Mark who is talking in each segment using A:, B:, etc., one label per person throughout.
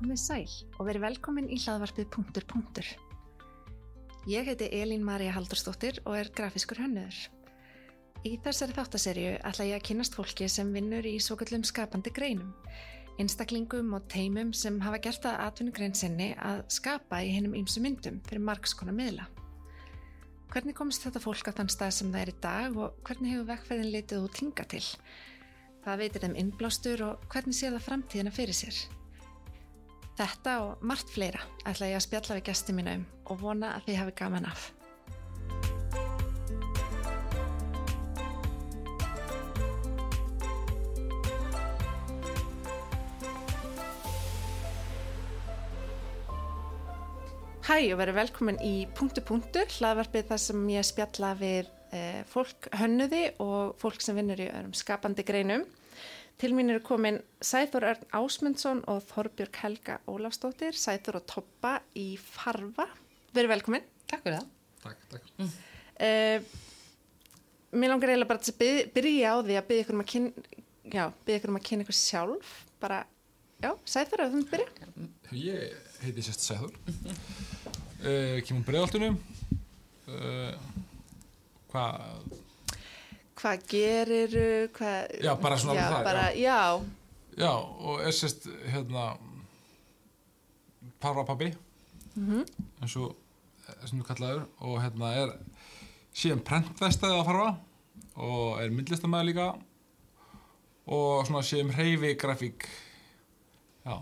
A: komið sæl og verið velkomin í hlaðvarpið punktur punktur. Ég heiti Elín Maria Haldurstóttir og er grafiskur hönnöður. Í þessari þáttaserju ætla ég að kynast fólki sem vinnur í svo kallum skapandi greinum, einstaklingum og teimum sem hafa gert að atvinnugrein sinni að skapa í hennum ýmsu myndum fyrir margskona miðla. Hvernig komst þetta fólk á þann stað sem það er í dag og hvernig hefur vegferðin litið út hinga til? Hvað veitir þeim innblástur og hvernig sér það framtíðina fyrir sér? Þetta og margt fleira ætla ég að spjalla við gæsti mínu um og vona að þið hafi gaman af. Hæ og verið velkomin í Punktu Punktur, hlaðvarpið þar sem ég spjalla við eh, fólk hönnuði og fólk sem vinnur í öðrum skapandi greinum. Til mín eru komin Sæþór Örn Ásmundsson og Þorbjörg Helga Ólafsdóttir, Sæþór og Toppa í Farfa. Verið velkomin.
B: Takk fyrir það.
C: Takk, takk.
A: Uh, mér langar eiginlega bara til að byð- byrja á því að byggja ykkur um að kynna, já, byggja ykkur um að kynna ykkur sjálf, bara, já, Sæþór, ef þú myndir byrja.
C: Ég heiti sérst Sæður, uh, kemur bregðaltunum, uh, hvað,
A: Hvað geriru, hvað...
C: Já, bara svona
A: já,
C: alveg það,
A: bara, já.
C: já, og er sérst, hérna, parvapabbi,
A: Mhm.
C: eins og, eins og nú kallaður, og hérna er síðan prentverstæði að farfa og er myndlistamæður líka og svona síðan hreyfi grafík, já,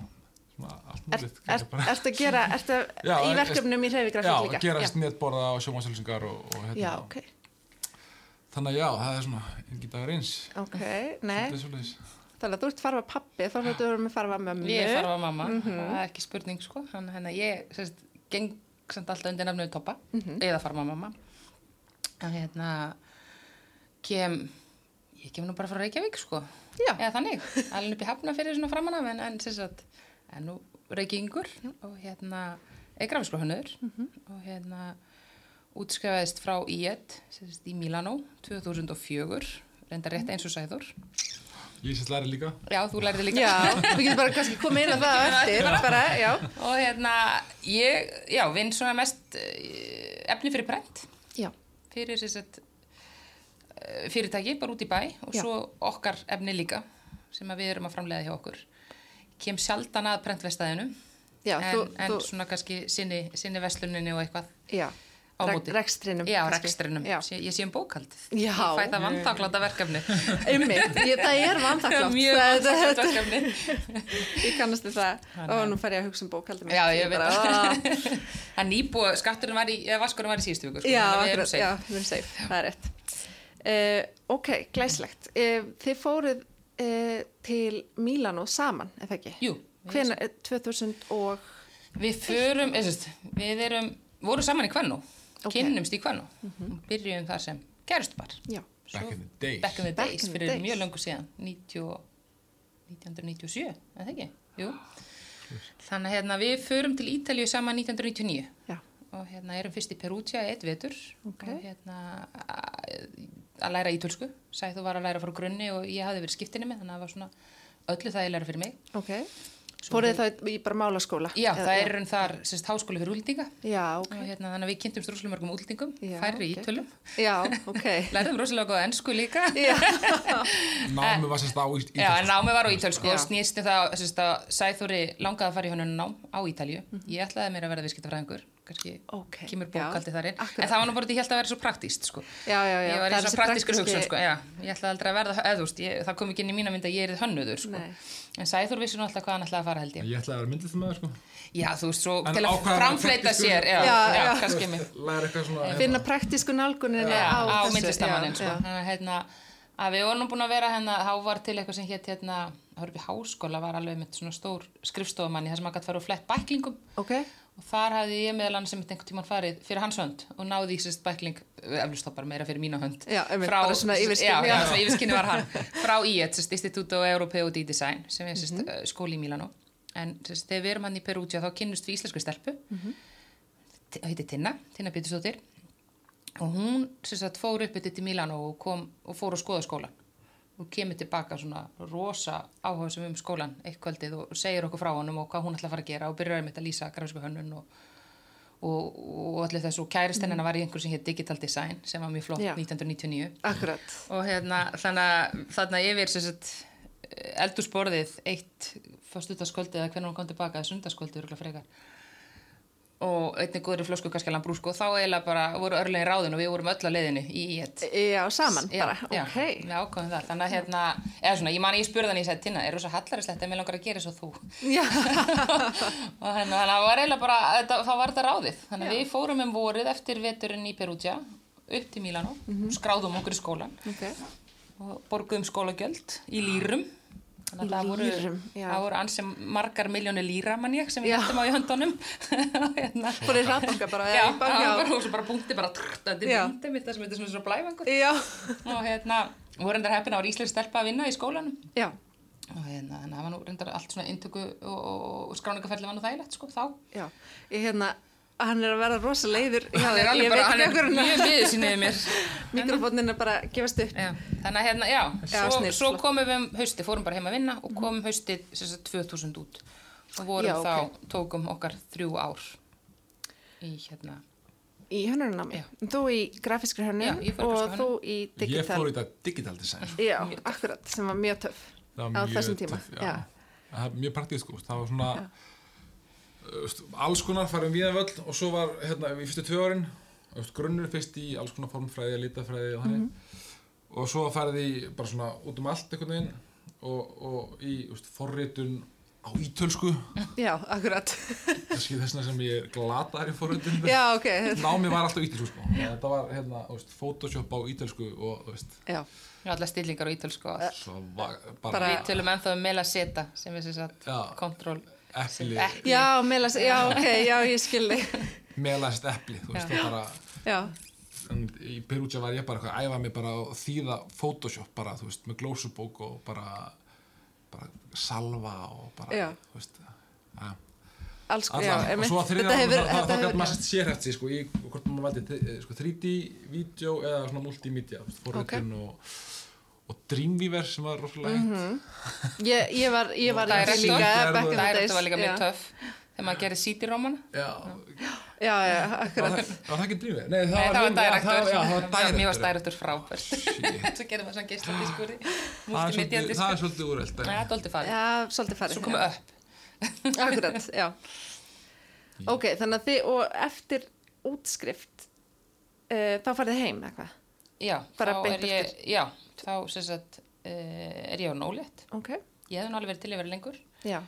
C: svona allt
A: Er,
C: mögulegt,
A: er,
C: kannski bara.
A: ertu að gera, ertu að,
C: Já,
A: í
C: er-
A: verkefnum í
C: Já,
A: reyfigrafík
C: að
A: líka?
C: gera netborða og sjómasjálfsingar og, og
A: já,
C: hérna.
A: já, ok,
C: Þannig að já, það er svona engin dagur eins.
A: ok, nei,
C: Þetta er svolítið.
A: þannig að þú ert farfa pappi, þá hlutu að vera með farfa mömmu.
B: Ég er farfa mamma,
A: Mhm.
B: það er ekki spurning sko, hann hennar ég sérst, geng samt alltaf undir nafnum Toppa,
A: Mhm.
B: eða farfa mamma. En hérna, kem, ég kem nú bara frá Reykjavík sko,
A: Já.
B: eða þannig, alveg upp í hafna fyrir svona framan af, en, en sérst að, en nú Reykjavíkur og hérna, er grafisklóhönnur
A: Mhm.
B: og hérna, útskrifaðist frá IET, sérst í Milano, 2004, reyndar
A: Mhm.
B: rétt eins og sæður.
C: Ég sérst læri líka.
B: Já, þú lærði líka.
A: Já, við getum bara kannski komið inn á það á eftir, bara, já,
B: og hérna ég, já, vinn svona mest eh, efni fyrir brent
A: já,
B: fyrir þess að fyrirtæki bara út í bæ og
A: Já.
B: svo okkar efni líka sem að við erum að framleiða hjá okkur kem sjaldan að brentvestæðinu
A: Já,
B: en,
A: þú-
B: en
A: þú-
B: svona kannski sinni, sinni vesluninni og eitthvað
A: já,
B: á
A: Rek-
B: móti.
A: rekstrinum.
B: Já,
A: kannski.
B: rekstrinum,
A: Já,
B: Sé, ég sé um bókald
A: Já.
B: Ég fæ það vantakláta verkefni
A: einmitt, ég, það er vantaklátt,
B: Mjög
A: það, það,
B: vantakláta
A: það,
B: verkefni
A: ég kannast við það, og nú fer ég að hugsa um bókaldum.
B: Já, ég veit Sko,
A: það.
B: það. Það nýbúa, skatturinn var í, eða vaskurinn var í síðustu viku. sko,
A: Já,
B: þannig að við erum
A: akkurat,
B: safe.
A: já, við erum safe, það er rétt. Uh, ok, glæslegt. Uh, þið fóruð uh, til Mílanó saman, eða ekki?
B: Jú.
A: Hvena, 2000 og...
B: Við förum, eða sérst, við erum, vorum saman í Kvennú,
A: Ok. Mhm.
B: kynnumst í Kvennú og byrjum þar sem gerustbar.
A: Já,
B: Svo-
C: Back in the days.
B: Back in the
A: Back
B: days,
A: in the
B: fyrir
A: days.
B: mjög langur síðan, 90, og- 1997, eða það ekki? Jú. Þannig að hérna, við förum til Ítalíu saman 1999
A: já,
B: og hérna erum fyrst í Perútia eitt vetur
A: Ok.
B: og hérna a- að læra ítölsku Sæþú var að læra frá grunni og ég hafði verið skiptinni með þannig að það var svona öllu það ég læra fyrir mig
A: ok. Fóruð þið þá í bara málaskóla?
B: Já,
A: Eða-
B: það er um þar sérst háskóli fyrir útlendinga
A: Já, ok.
B: og hérna þannig að við kynntumst rosalega mörgum útlendingum
A: Já,
B: færri
A: ok.
B: ítölum
A: Já, ok.
B: lærðum rosalega góða ennsku líka
A: Já,
C: Námi var sérst á í Ítalíu.
B: Eh. Já, en námið var á ítölsku
A: Já.
B: og snýst um það sérst, að Sæþóri langaði að fara í hönnun nám á Ítalju ég ætlaði mér að verða viðskiptafræðingur kannski
A: Mhm. Ok,
B: kemur
A: já,
B: bókaldi þar inn
A: akkurat.
B: en það var nú bara því ég held að vera svo praktíst sko.
A: Já, já, já,
B: ég var
A: það
B: í
A: er þessi
B: svona praktískur
A: praktíski-
B: hugsun sko. já, ég ætlaði aldrei að verða eða, þú veist, ég, það kom ekki inn í mína mynd að ég er hönnuður sko.
A: Nei.
B: en Sæþór vissi nú alltaf hvað hann ætlaði að fara held ég
C: Ég ætlaði að vera myndlistamæður, sko.
B: já, þú veist, svo
C: En
B: til
C: ákvað
B: að
C: að vera
B: framfleyta
C: praktískur.
B: sér já,
A: Já,
B: já,
A: já.
B: kannski mig
C: Læra eitthvað svona. hérna.
A: finna praktísku nálgunina
B: já,
A: á,
B: á
A: þessu.
B: myndlistamannin
A: Já,
B: sko.
A: já.
B: Þannig að, hérna, að við vorum búin að vera hérna hávar til eitthvað sem hétt hérna það var upp í háskóla var alveg með svona stór skrifstofumanni þar sem að gæti fara og flett bæklingum
A: Ok,
B: og þar hafði ég meðal annars sem einhvern tímann farið fyrir hans hönd og náði í sérst bækling eflustoppar meira fyrir mína hönd
A: Já, einmitt, bara svona yfirskin,
B: já, já,
A: já.
B: svona yfirskinni var hann frá IET, sérst Instituto Europeo di Design sem er sérst mm
A: Mhm.
B: skóli í Milano en sérst þegar við erum hann í Perugia þá kynnust við íslensku stelpu mm
A: Mhm.
B: heiti Tinna, Tinna Bítustóttir og hún sérst fór upp yfir til Milano og kom og fór að skoða skólan og kemur tilbaka svona rosa áhuga um skólan eitt kvöldið og segir okkur frá honum og hvað hún ætla að fara að gera og byrjar einmitt að lýsa grafisku hönnun og, og, og allir þessu og kærist hennar var í einhverju sem hétt Digital Design sem var mjög flott
A: Já.
B: 1999
A: Akkurat.
B: og hérna þannig að þarna yfir sem sagt eldursporðið eitt föstudagskvöldið eða hvernig hún kom tilbaka eða sundarskvöldið örgulega frekar og einnig góðri flösku kannski alveg brúsku og þá eiginlega bara voru örlegin ráðin og við vorum öll á leiðinu í ett
A: Já, saman
B: já,
A: bara,
B: já,
A: ok.
B: við ákvæðum það þannig að hérna, eða svona, ég man að ég spurði hann ég sagði, Tina, er þú svo hallarislegt en mér langar að gera svo þú
A: Já,
B: og hérna, þannig að það var eiginlega bara þetta, þá var þetta ráðið, þannig að við fórum um vorið eftir veturinn í Perugia upp til Milano,
A: Mhm.
B: skráðum okkur í skólan
A: ok.
B: og borguðum skólagjöld í lýrum
A: Í
B: þannig að það voru,
A: lýrum, já.
B: það voru ansi margar miljónir lýra mann ég sem
A: Já.
B: við hættum á í höndunum hérna.
A: Fór í hraðbanka bara, eða í
B: já, það
A: banka
B: var
A: á-
B: bara, og svo bara punkti bara trrrt, þetta
A: Já.
B: er punkti mitt það sem þetta er svona svo blæfangur
A: Já,
B: og hérna, voru reyndar heppin að voru íslensk stelpa að vinna í skólanum
A: já,
B: og hérna, þannig að það var nú reyndar allt svona inntöku og, og, og skráningaferli var nú þægilegt sko þá
A: já. Ég hérna, hann er að vera rosa leiður hjá þér.
B: hann er alveg
A: Ég
B: bara,
A: veit
B: hann
A: ekki
B: er
A: okkur hann
B: mjög miður síniðið mér
A: Mikrofónin er bara að gefast upp.
B: Já, þannig að hérna, já,
A: Já,
B: svo,
A: snill,
B: svo
A: flott.
B: komum við um haustið, fórum bara heim að vinna og komum haustið sem sagt 2000 út og vorum
A: Já, ok.
B: þá, tókum okkar þrjú ár í hérna,
A: Í hönnurinnámi. Þú í grafískri
B: Já,
A: hönnun
B: ég fór í grafískri
A: og þú
B: hönnun.
A: í
C: Ég
A: digital.
C: fór í þetta digital design.
A: Já, akkurat, sem var mjög töff
C: Það
A: á
C: var mjög
A: þessum tíma.
C: töff, já. Það var mjög praktísk, sko. það var svona þú veist, alls konar farin við að völl og svo var hérna í fyrstu tvö árin þú veist, grunnur fyrst í alls konar formfræði, litafræði og þannig
A: Mhm.
C: og svo færði ég bara svona út um allt einhvern veginn og, og í þú veist, forritun á ítölsku
A: já. já, akkurat.
C: kannski þessna sem ég er glataðar í forritun
A: já, ok.
C: námi var alltaf ítölsku sko. Og þetta var hérna, þú veist, photoshop á ítölsku og þú veist,
A: Já,
B: allar stillingar og ítölsku og allt.
C: svo var bara,
A: Bara-
B: Við tölum ennþá um meila seta sem er sem sagt
C: Já.
B: kontról
C: Epli.
A: já, meðlas, já, ok, já, ég skilði.
C: meðlæst epli þú veist, það bara
A: Já,
C: en í Perugia var ég bara eitthvað að æfa mig bara að þýða Photoshop bara, þú veist, með glósubók og bara, bara salva og bara,
A: Já.
C: þú veist að,
A: alls, já,
C: allan, og
A: einmitt.
C: svo að þriða
A: Þetta hefur,
C: þá, þá
A: þetta
C: gæti
A: hefur,
C: maður sérhæft sér, sko, í hvort maður valdi eh, sko, 3D, vídeo eða svona multimedia, þú veist, forritin og, og Dreamweaver sem var rosalega
A: Mhm.
C: mm -hmm.
A: ég, ég var, ég var í
B: Director.
A: því líka,
C: Director.
A: back in the days.
B: Dærektu var líka
A: já.
B: mjög töff þegar maður gerði CD-rómana
C: já,
A: Já, já, akkurat.
C: var það, var það ekki Dreamweaver? Nei,
B: Nei, það var
C: Dreamweaver, já,
B: dærektur,
C: það- já, það var
B: mér varst
C: Director.
B: dærektur frábært
C: Shit.
B: Svo gerðum við svona geisladiskur
C: Það er svolítið-
B: Multimediadiskur
C: það er svolítið úrelt en-
B: Það er doldið farið
A: Já, svolítið farið.
B: Svo komum við upp
A: Akkurat, já. Ok, þannig að þið, og eftir útskrift, uh, þá farið þið heim, eitthvað?
B: Já,
A: Bara
B: þá
A: beint
B: er ég, já, þá sem sagt, uh, er ég á nólétt.
A: Ok,
B: Ég hefði nú alveg verið til að vera lengur.
A: já,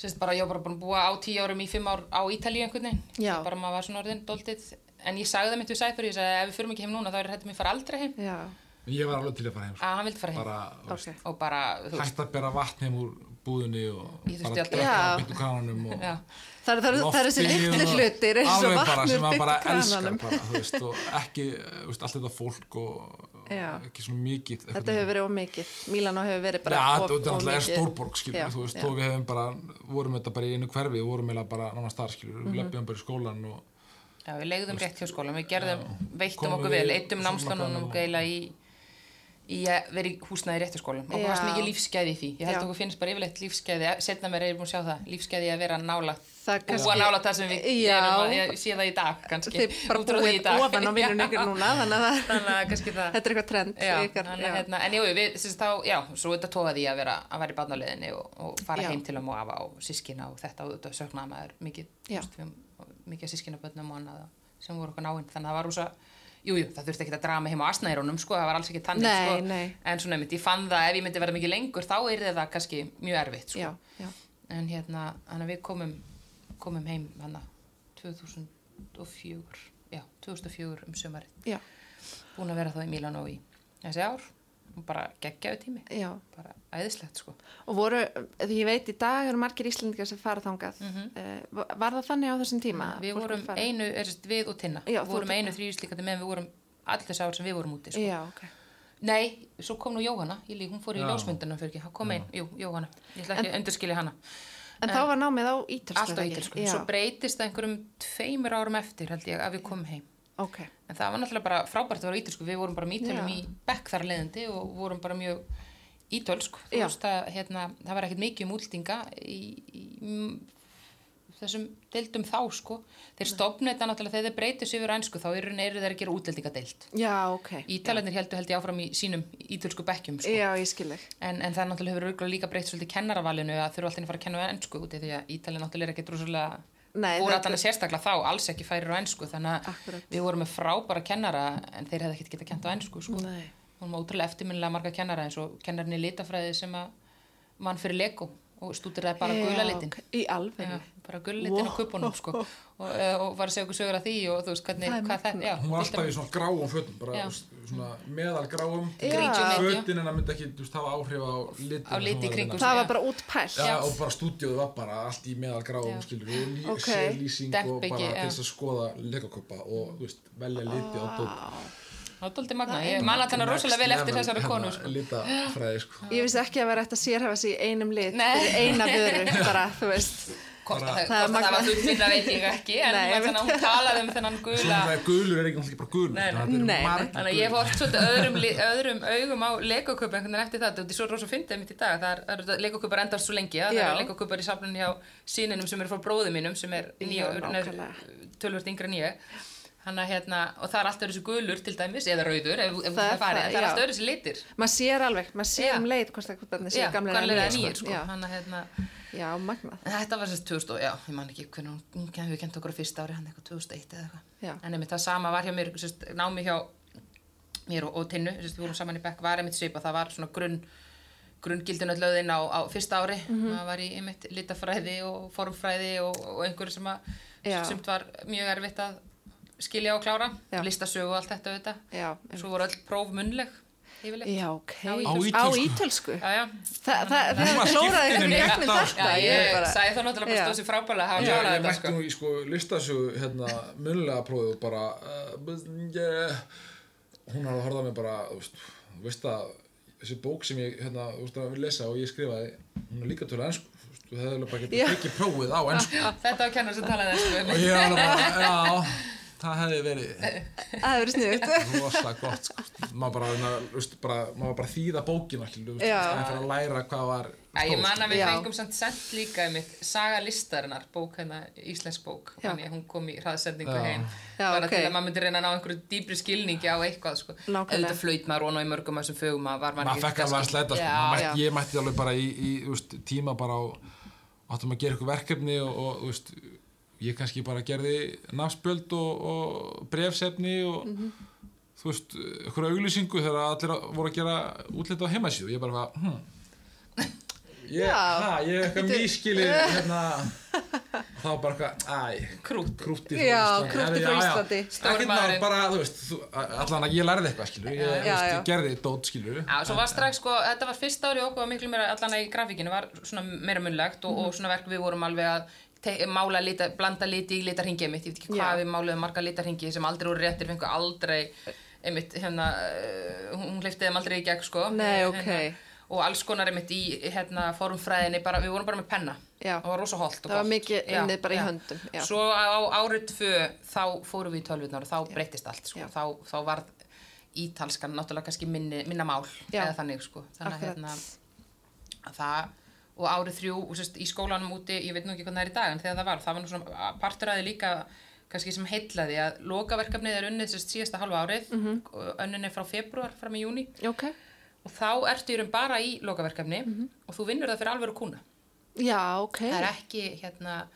B: Sem sagt bara, ég var bara búin að búa á tíu árum í fimm ár á Ítalíu einhvern veginn.
A: Já.
B: Bara maður var svona orðin doldið. En ég sagði það mitt við Sæpur, ég sagði ef við förum ekki heim núna þá er hættum við fara aldrei heim.
A: já,
C: ég var alveg til að fara heim sko.
B: Að hann vildi fara heim.
C: bara, þú veist,
A: ok.
B: Og bara, þú veist,
C: hægt að bera vatn heim úr búðinni og
B: Ég þurfti
C: bara
B: aldrei-
C: drekka
A: Já.
C: og byttu krananum og
B: já,
A: Það eru- það eru- það eru þessi
C: loftið
A: litlu
C: og-
A: hlutir eins og
C: alveg bara
A: vatnur
C: sem maður bara
A: byggt
C: elskar
A: krananum.
C: bara, þú veist, og ekki þú veist, allt þetta fólk og, og
A: Já.
C: ekki svona mikið einhvern
A: Þetta hefur verið ómikið. Mílanó hefur verið bara
C: Já,
A: of-
C: þetta er
A: of
C: alltaf er
A: mikið.
C: stórborg skilur,
A: Já,
C: þú veist,
A: já.
C: þó við hefum bara vorum þetta bara í einu hverfi, við vorum eiginlega bara nánast þar
A: Mhm.
C: skilur, við löpjum bara í skólan og
B: já, við legðum rétt hjá skólan, við gerðum, veittum
C: Komum
B: okkur
C: við-
B: vel, eittum námslánunum
C: og-
B: geila í í að vera í húsnaði réttu skólanum og fannst
A: Já.
B: mikið lífsgæði í því ég held
A: Já.
B: að okkur finnst bara yfirleitt lífsgæði setna mér er ég búin að sjá það, lífsgæði í að vera nála
A: Það er
B: búa
A: kannski-
B: nála það sem við
A: Já.
B: erum að ég sé það í dag kannski
A: þið bara
B: út frá því í
A: búið
B: dag.
A: ofan á vinnunni ykkur núna þannig að það,
B: þannig að kannski það
A: þetta er eitthvað trend
B: já,
A: ykkar,
B: þannig, að hérna, en jú, við, sérst, þá, já, svo þetta tóði ég að vera að vera í barnaleðinni og, og fara
A: Já.
B: heim til um og afa og sískina og þetta og þetta söknaði maður mikið,
A: Já.
B: þú veist, við, mikið sískinaböndum og annað sem voru okkur náinn, þannig að það var rúsa Jú, jú, það þurfti ekki að draga mig heim á asnæðurunum, sko, það var alls ekki tannig,
A: Nei,
B: sko,
A: nei.
B: en svona einmitt, ég fann það, ef ég myndi vera mikið lengur, þá er það kannski mjög erfitt, sko
A: já, já,
B: en hérna, þannig að við komum komum heim hann 2004 já, 2004 um sömarið
A: já,
B: búin að vera þá í Mílanó í þessi ár og bara geggjaðu tími
A: já
B: bara æðislegt sko
A: og voru, því ég veit í dag eru margir íslendingar sem fara þangað mm var það þannig á þessum tíma? að
B: Mhm. við
A: fólk
B: vorum
A: var að fara?
B: einu, er, sest, við og Tinna
A: Já, þú og
B: vorum
A: Tinna.
B: einu þrýjuslíkandi meðan við vorum allir þessi ár sem við vorum úti sko.
A: já, ok
B: nei, svo kom nú Jóhanna ég lík, hún fór í
C: Já.
B: ljósmyndunum fyrir ekki, hún kom einn, jú, Jóhanna ég ætla ekki að undirskilja hana
A: en þá var námið á ítölsku
B: alltaf
A: ekki?
B: heitir sko,
A: já,
B: svo breytist það einhverjum tveimur árum eftir held ég að við komum heim
A: ok,
B: En það var náttúrulega bara frábært að vera ítalsku, við vorum bara með ítalum
A: Já.
B: í bekk þar leðandi og vorum bara mjög í tölsk þú
A: Já.
B: veist að hérna, það var ekkert mikið um útlendinga í, í m- þessum deildum þá sko þeir stopna þetta náttúrulega þegar þeir breytu sig yfir á ensku þá í raun eru þeir að gera útlendinga deild
A: Já, ok.
B: Ítalarnir heldur held ég áfram í sínum ítölsku bekkjum sko.
A: Já, ég skil þig.
B: En, en það náttúrulega hefur örugglega líka breytt svolítið kennaravalinu að þurfa alltaf að fara að kenna á ennsku úti því að Ítalið náttúrulega er ekkert rosalega
A: Nei,
B: úr
A: þetta-
B: allan að sérstaklega þá alls ekki færir á ennsku þannig að
A: Akkurat.
B: við vorum með frábæra kennara en þeir hefði ekkert getað kent á ennsku sko.
A: Nei.
B: Hún var ótrúlega eftirminnilega marga kennara eins og kennarinn í litafræði sem að mann fyrir lego og stúdiraði bara
A: Já,
B: gula litin.
A: ok. Í alveg.
B: Já, bara gula litin á kupunum sko og, eh, og var að segja okkur sögur að því og þú veist hvernig,
A: Það er
B: hvað það, já,
C: Hún var
B: til dæmis-
C: alltaf í svona gráum fötum,
B: Já.
C: bara þú veist, svona meðal gráum.
A: Já.
B: Grýtjumyndju.
C: Fötin hennar myndi ekki, þú veist, hafa áhrif á litin.
B: Á lit í kringum
A: Það var
B: Já.
A: bara útpælt.
C: Já,
B: Já.
C: og bara stúdíóðu var bara allt í meðal gráum, skilur, og lí,
A: Ok.
C: sérlýsing og
B: Dekkbyggi,
C: bara
B: já.
C: til þess að skoða leikakoppa og, þú veist, velja liti á dót.
B: það var dóldi magna, ég man alltaf hana Ah. rosalega vel eftir þessari konu sko.
C: Litafræði, sko.
A: Ég vissi ekki að vera eftir að sérhafa sig í einum lit
B: Nei.
A: fyrir eina vöru, bara, þú veist.
B: hvort að
C: Bara-
B: það,
A: Það er
B: hvort að það
A: magnað.
B: var fullfinna veit ég ekki en
A: Nei,
B: Nei,
A: ég
B: þannig að hún talaði um þennan
C: Svona
B: gula
C: það er gulur er ekki náttúrulega bara gulur,
B: Nei, nei.
C: þetta eru
A: Nei, nei.
C: margir
B: þannig að ég
C: gulir.
B: hef hort svolítið öðrum, li- öðrum augum á legoköp einhvern veginn eftir það þetta er svo rosa fyndið mitt í dag það er, er legoköpar endast svo lengi að það
A: Já.
B: eru legoköpar í safnunum hjá síninum sem er frá bróði mínum sem er
A: Já,
B: nýja,
A: nákvæmlega.
B: tölvört yngra nýja Hanna, hérna, og það er alltaf þessi gulur til dæmis eða rauður ef,
A: Það
B: ef það
A: er
B: er farið,
A: það,
B: en það er
A: já.
B: alltaf öðru litir
A: Maður sér alveg, maður sér
B: Já.
A: um leið hvort það hvernig séu
B: já,
A: gamlega
B: gamlega eða nýjir sko.
A: Já,
B: Hanna, hérna,
A: já magnað.
B: En Þetta var sérst 2000, og- já, ég man ekki hvernig hún- hún hefur kent okkur á fyrsta ári, hann eitthvað 2001
A: Já.
B: eða eitthvað. En einmitt það sama var hjá mér, sérst, námi hjá mér og, og Tinnu, sérst, við vorum saman í Bekk, var einmitt svipað, það var svona grunn, grunngildin öll löðin á, á fyrsta ári,
A: Mhm.
B: það var í einmitt litafræði og formfræði og, og einhverju sem að,
A: Já.
B: sumt var mjög erfitt að skilja og klára,
A: Já.
B: listasögu og allt þetta auðvitað.
A: Já, einmitt.
B: Svo voru öll próf munnleg, yfirleitt.
A: Já, ok.
B: Á
C: ítölsku.
A: Á ítölsku.
B: Já, já.
A: Þa, það það klóraði
C: Núna skiptir
A: hvernig
C: mér
A: gegnum
C: þetta,
A: þetta.
B: Já, ég,
A: er
B: sagði það náttúrulega
A: Já.
B: bara stóð sér frábælega að hafa
C: Ég,
B: klárað
C: ég
B: þetta,
C: mætti nú í sko listasögu hérna, munlega prófið og bara uh, bus- ég, hún hafði horfað mér bara þú veist, þú veist að þessi bók sem ég hérna, þú veist að við lesa og ég skrifaði hún er líka tölu ennsku þú veist, það er bara
A: Já.
C: getið ekki prófið á ennsku
B: Þetta var kennar sem talaði ennsku
C: og ég var alveg bara, já, það hefði verið
A: Það hefur verið sniðugt.
C: rosa gott sko. maður bara, na, veist, bara, maður bara þýða bókina skilur, veist,
A: Já.
C: það er fyrir að læra hvað var
B: Já, ég man að við
A: Já.
B: fengum samt sent líka einmitt Saga listarinnar, bók hérna, íslensk bók
A: Já.
B: Þannig að hún kom í hraðsendingu
C: Já.
B: heim
A: Já,
B: Bara
A: ok.
B: til að maður myndi reyna að ná einhverju dýbri skilningi á eitthvað sko.
A: Nákvæmlega.
B: Auðvitað flaut maður og ná í mörgum af þessum fögum að var
C: maður fekk alveg að slæta sko.
B: Já,
C: Maður
A: já.
C: mætti, ég mætti alveg bara í, í úst, tíma bara á áttum að gera ykkur verkefni og, og úst, ég kannski bara gerði nafnspjöld og, og brefsefni og
A: Mhm.
C: þú veist, ykkur auglýsingu þegar allir að- voru að gera útlita á heimasíðu, ég bara var hm, ég,
A: Já.
C: ha, ég er eitthvað
A: Bíddu.
C: mískilið hérna þá bara eitthvað, æ
B: Krútt.
C: krútti
A: Já, krúttið frá Íslandi.
B: Stóri
C: ekki
B: maðurinn.
C: maðurinn bara, þú veist, þú, allan að ég lærði eitthvað skilur, ég, þú
A: Já,
C: veist,
A: já.
C: ég gerði dót skilur
B: Já, svo var strax sko, þetta var fyrsta ári okkur og miklu meira allan að í grafíkinu var svona meira munlegt og,
A: Mhm.
B: og svona verk við vorum alveg að te- mála lita, blanda liti í litarhingið mitt, ég veit ekki
A: Já.
B: hvað við máluðum marga litarhingi sem aldrei voru réttir, fengu aldrei einmitt, hérna eh, hún hleyfti þeim aldrei í gegn sko
A: Nei,
B: Eh,
A: ok.
B: hérna, og alls konar einmitt í hérna formfræðinni, bara, við vorum bara með penna
A: Já.
B: það var rosa holdt
A: Það
B: og
A: var
B: gott.
A: mikið
B: Já,
A: unnið bara í
B: já.
A: höndum, já.
B: svo á árið tvö þá fórum við í tölvutnar og þá breyttist
A: Já.
B: allt sko. þá, þá var ítalskan náttúrulega kannski minni, minna mál
A: Já.
B: eða þannig sko þannig að
A: Akkurat.
B: hérna, að það og árið þrjú og sérst, í skólanum úti, ég veit nú ekki hvernig það er í dag en þegar það var, það var nú svona partur að því líka kannski sem heitlaði að lokaverkefnið er unnið sérst síðasta halva árið mm
A: Mhm.
B: -hmm. önnin er frá februar fram í júni
A: Ok.
B: og þá ertu í raun bara í lokaverkefni
A: Mhm.
B: og þú vinnur það fyrir alvöru kuna
A: Já, ok.
B: það er ekki hérna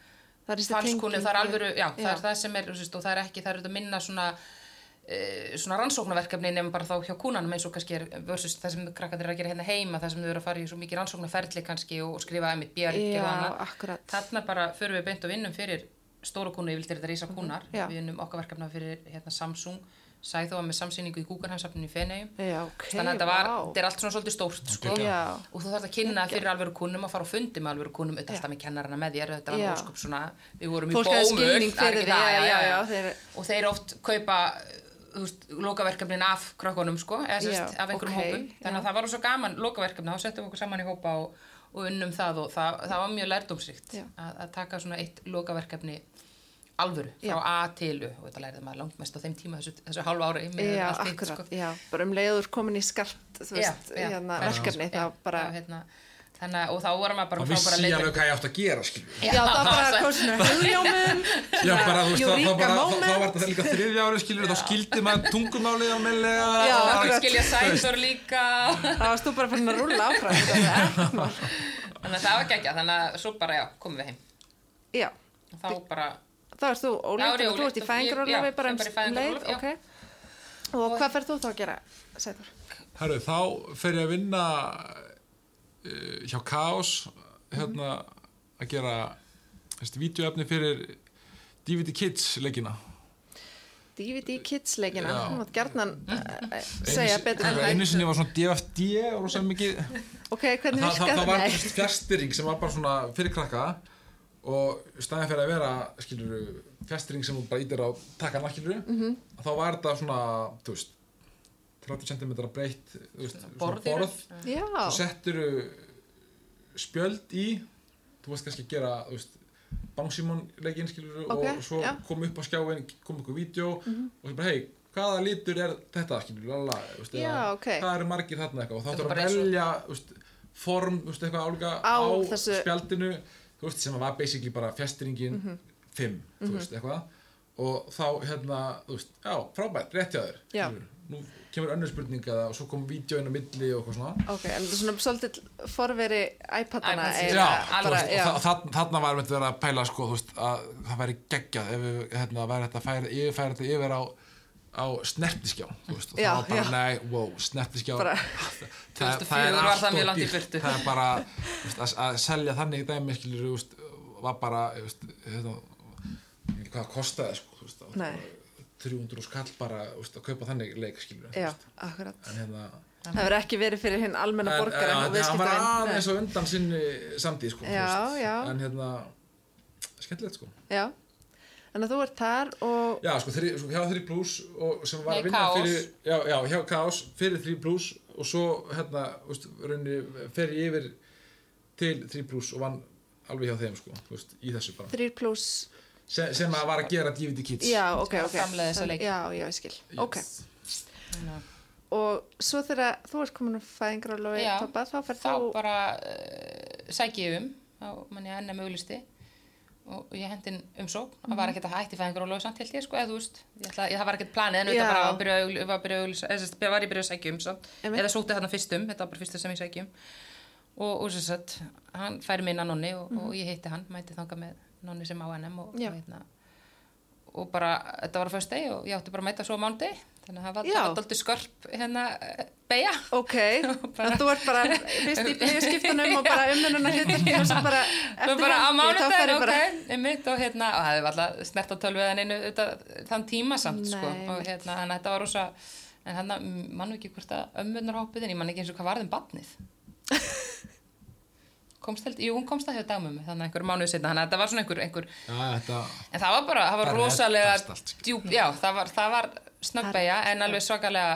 A: Það er þessi
B: falskunu,
A: tenging
B: það er
A: við-
B: alvöru, já, það
A: Já.
B: er það sem er, þú veist, og það er ekki, það er auðvitað minna svona, uh, svona rannsóknarverkefni nefnum bara þá hjá kúnanum eins og kannski er versus það sem krakkandir eru að gera hérna heima, það sem þau eru að fara í svo mikið rannsóknarferli kannski og, og skrifa einmitt bjargir
A: Já,
B: og annað.
A: akkurat.
B: Þarna bara förum við beint og vinnum fyrir stóra kúnu, ég vildi þetta rísa kúnar,
A: Mhm, Já.
B: við vinnum okkar verkefna fyrir hérna, Samsung, Sæþóa með samsýningu í Guggenheimsafninu í Feneyjum.
A: Já, ok.
B: Þannig að þetta var,
A: vá.
B: þetta er allt svona svolítið stórt sko.
A: Já.
B: og þú þarfst að kynna fyrir alvöru kunnum og fara á fundi með alvöru kunnum auðvitað alltaf með kennarana með þér þetta var
A: Já.
B: alveg ósköp svona, við vorum í
A: Fólk hafði
B: bómull,
A: skilning
B: það er
A: fyrir
B: ekki
A: því,
B: það,
A: já, já, já, þeir-
B: og þeir oft kaupa þú veist, lokaverkefnin af krökkunum sko, eða sérst
A: Já,
B: af einhverjum
A: ok,
B: hópum þannig
A: já.
B: að það var svo gaman lokaverkefni, þá settum við okkur saman í hópa og, og unnum það og það, það var mjög lærdómsrikt
A: Já.
B: að, að taka svona eitt lokaverkefni alvöru, frá
A: Já.
B: A til U og þetta lærði maður langmest á þeim tíma þessu, þessu hálfa ára
A: já,
B: sko.
A: akkurat, já, bara um leiður komin í skarpt þú
B: Já,
A: veist,
B: já.
A: hérna,
B: Já.
A: verkefni
B: Já,
A: þá bara,
B: já, hérna, þannig að, og þá vorum maður bara
C: þá
B: þá bara
C: vissi ég
B: leiðbeiningar.
C: alveg hvað ég átt að gera skilur
A: já, þá bara kosinu hugljómun
C: Já, bara, þú veist, þá, þá,
A: Eureka
C: bara, þá,
A: moment.
C: þá var þetta líka þriðja ári, skilur, þá skildi maður tungumálið almennilega.
A: Já,
C: og-
A: akkurat.
B: skilja sænsor líka
A: þá varst þú bara fann að rúlla áfram þetta var ekkert mál.
B: þannig að það var gekkja, þannig að svo bara já, komum við heim
A: já,
B: og þá bara,
A: þá erst þú
B: Þá er
A: ólíkt
B: ég
A: og þú ert
B: ólétt
A: í
B: og ég-
A: fæðingarólafi
B: já,
A: bara
B: ég
A: um
B: bara í fæðingarorlofi,
A: leið, ok og hvað ferð þú þá að gera, Sæður?
C: Herru, þá fer ég að vinna uh, hjá Kaos hérna að gera þessi vídeoefni fyrir DVD Kids leggina
A: DVD Kids leikina,
C: Já.
A: þú mátt gjarnan uh, segja betur en
C: Einu
A: hægt
C: sinni var svona DFD og rosa mikið
A: ok, hvernig
C: það, það,
A: virkar
C: það var
A: Nei.
C: þessi fjastýring sem var bara svona fyrir krakka og staðið fyrir að vera skilur fjastýring sem þú bara ítir á takkan skilur
A: Mhm.
C: -hmm. þá var þetta svona þú veist 30 cm breytt þú veist, svona
B: borðir
C: borð
A: já,
C: þú settur spjöld í þú veist kannski að gera þú veist, bangsímon leikinn skilur
A: Ok,
C: og svo
A: já. Mhm.
C: kom upp á skjáin kom einhver vídeo og svo bara hei hvaða lítur er þetta skilur lala, þú veist,
A: Já,
C: eða
A: ok.
C: hvað eru margir þarna eitthvað og þá
B: Þetta
C: þarf
B: bara
C: að
B: eins og-
C: velja þú veist, form þú veist, eitthvað álga
A: Á
C: á,
A: þessu- Mhm.
C: spjaldinu þú veist, sem var basically bara fjastringin 5 þú veist eitthvað og þá hérna þú veist, já frábært rétt hjá þér
A: Já.
C: skilurðu. nú kemur önnur spurning eða og svo kom vídeoinn á milli og eitthvað svona
A: ok, en þetta er svona svolítið forveri iPadana
B: iPads,
A: eiginlega,
C: Já, þú
A: bara,
C: veist,
A: já.
C: og þa- þa- þarna var einmitt verið að pæla sko, þú veist, að það væri geggjað ef við, hérna, væri þetta færi, yfirfæri þetta yfir á á snertiskjá þú veist, og
A: Já,
C: það var bara,
A: já.
C: nei, wow, snertiskjá
A: Bara-
C: það,
B: 2004
C: það er
B: var það
C: allt
B: mjög
C: og
B: langt í
C: dýrt
B: burtu.
C: það er bara, þú veist, að, að selja þannig dæmi, skilur, þú veist, var bara þú veist, hérna, ég veit ekki hvað það kostaði, sko, þú veist, það var
A: Nei.
C: bara 300 og skall bara, þú veist, að kaupa þannig leik, skilur, þú
A: já,
C: veist,
A: akkurat
C: en hérna
A: það verður ekki verið fyrir hinn almenna borgara og
C: hann var
A: viðskiptavinn
C: aðeins og undan sinni samtíð sko, þú
A: Já,
C: veist.
A: já.
C: en hérna skemmtilegt sko
A: já, þannig að þú ert þar og
C: já sko, þri, sko hjá 3 plus og sem var
B: Nei,
C: að vinna
B: Kaos.
C: fyrir já, já, hjá Kaos fyrir 3 plus og svo hérna þú veist, raunni, fer ég yfir til 3 plus og vann alveg hjá þeim sko, þú veist, í þessu bara
A: 3 plus
C: sem, sem að var að gera DVD Kids
A: já, ok,
B: Að
A: ok
B: framleiða þessa leiki.
A: já, já, ég skil,
C: Yes.
A: ok og svo þegar þú ert komin um fæðingarólafi
B: Já.
A: pappa, þá ferð
B: þá
A: þú
B: bara uh, sæki ég um þá mann ég að ennum auglisti og ég hendi inn umsókn það
A: Mhm.
B: var ekkert að hætti fæðingur og lögsamt held ég sko eða þú veist, ég ætla, ég, það var ekkert planið en
A: Já.
B: þetta bara var, að byrja að augl- var, að byrja að auglýsa- eða sem sagt, var ég byrjað að sækja um svo.
A: Einmitt.
B: eða sótti þarna fyrstum, þetta var bara fyrsta sem ég sækja um og, og sem sagt, hann færi mig inn að nonni og, og ég hitti hann, mæti þangað með nonni sem á NM og, og,
A: Mhm. Já.
B: hérna, og bara, þetta var að föstu og ég átti bara að mæta svo á mándi þannig að það var
A: Já.
B: alltaf skörp hérna, beja
A: Ok, þannig að þú ert bara fyrst í byggskiptunum og bara ummununa hlutin og svo bara
B: Svo
A: eftir
B: bara á
A: helgi, þá fer
B: mánudaginn,
A: ég
B: ok,
A: bara
B: einmitt og hérna, og það hefði alltaf snert á tölviðan einu auðvitað, þann tíma samt, sko,
A: Nei,
B: og hérna, en þetta var rosa, en hérna, mann ekki hvort að ömmunar hoppuð inn, ég man ekki eins og hvað varð um batnið. komst held, jú, hún komst að hjá dagmömmu, þannig að einhver mánuð setna, þannig að þetta var svona einhver, einhver,
C: já, þetta
B: en það var bara, það var
C: Bara
B: rosalega
C: reddast allt, skilur.
B: djúp, já, það var, það var snöggbeja, en alveg svakalega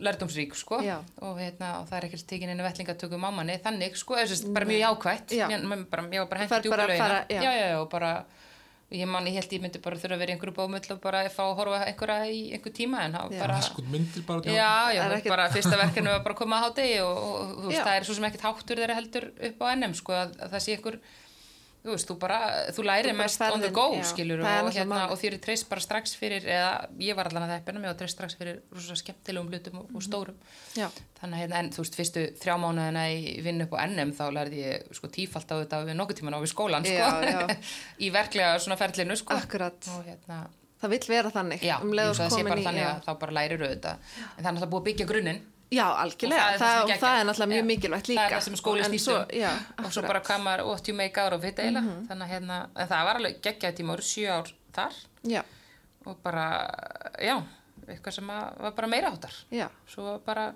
B: lærdómsrík, sko,
A: Já.
B: og hérna, og það er ekkert tekin einu vellingatöku mámanni, þannig, sko, eða sérst, bara mjög jákvætt,
A: Já.
B: Mér- mér bara, ég var bara
A: Þú færð
B: hengt djúpa
A: bara að
B: laugina
A: fara- já.
B: já. Já, já, og bara ég man, ég held ég myndi bara þurfa að vera í einhverju bómull og bara fá að horfa á einhverja í einhver tíma en það
A: Já.
B: var bara
C: sko myndir bara
B: já, já,
A: Það er ekkert-
B: bara fyrsta verkefni var bara að koma að hátegi og, og, og þú veist,
A: Já.
B: það er svo sem ekkert háttur þeirra heldur upp á NM sko, að, að það sé einhver þú veist, þú bara, þú
A: Þú
B: lærir
A: bara
B: mest on the
A: ferðin,
B: go,
A: já. Það er
B: skilur og,
A: náttúrulega
B: hérna,
A: málið.
B: og þér er treyst bara strax fyrir eða ég var allan að þeppina mig og treyst strax fyrir rosa skemmtilegum hlutum og,
A: Mhm.
B: og stórum
A: Já,
B: Þannig að hérna, en, þú veist, fyrstu þrjá mánuðina í vinnu upp á NM þá lærði ég sko tífalt á þetta við nokkuð tíman á við skólan, sko,
A: Já, já.
B: í verklega svona ferlinu, sko.
A: akkurat
B: Og hérna,
A: Það vill vera þannig
B: já,
A: um leið
B: eins
A: og
B: og það sé
A: komin
B: bara
A: í
B: þannig
A: já.
B: að þá bara lærir auðvitað. En það er náttúrulega búið að byggja grunninn
A: já, algjörlega,
B: Og það er það
A: það,
B: sem er
A: það,
B: geggjað.
A: er náttúrulega mjög
B: Já.
A: mikilvægt líka
B: það er það sem skóli
A: En
B: snýst
A: svo-
B: um.
A: Já,
B: og svo
A: akkurat. Mhm.
B: bara hvað maður what you make out of it eiginlega. Þannig að hérna, en það var alveg geggjaði tíma, voru sjö ár þar
A: Já,
B: og bara, já, eitthvað sem að, var bara meira áttar.
A: já,
B: svo bara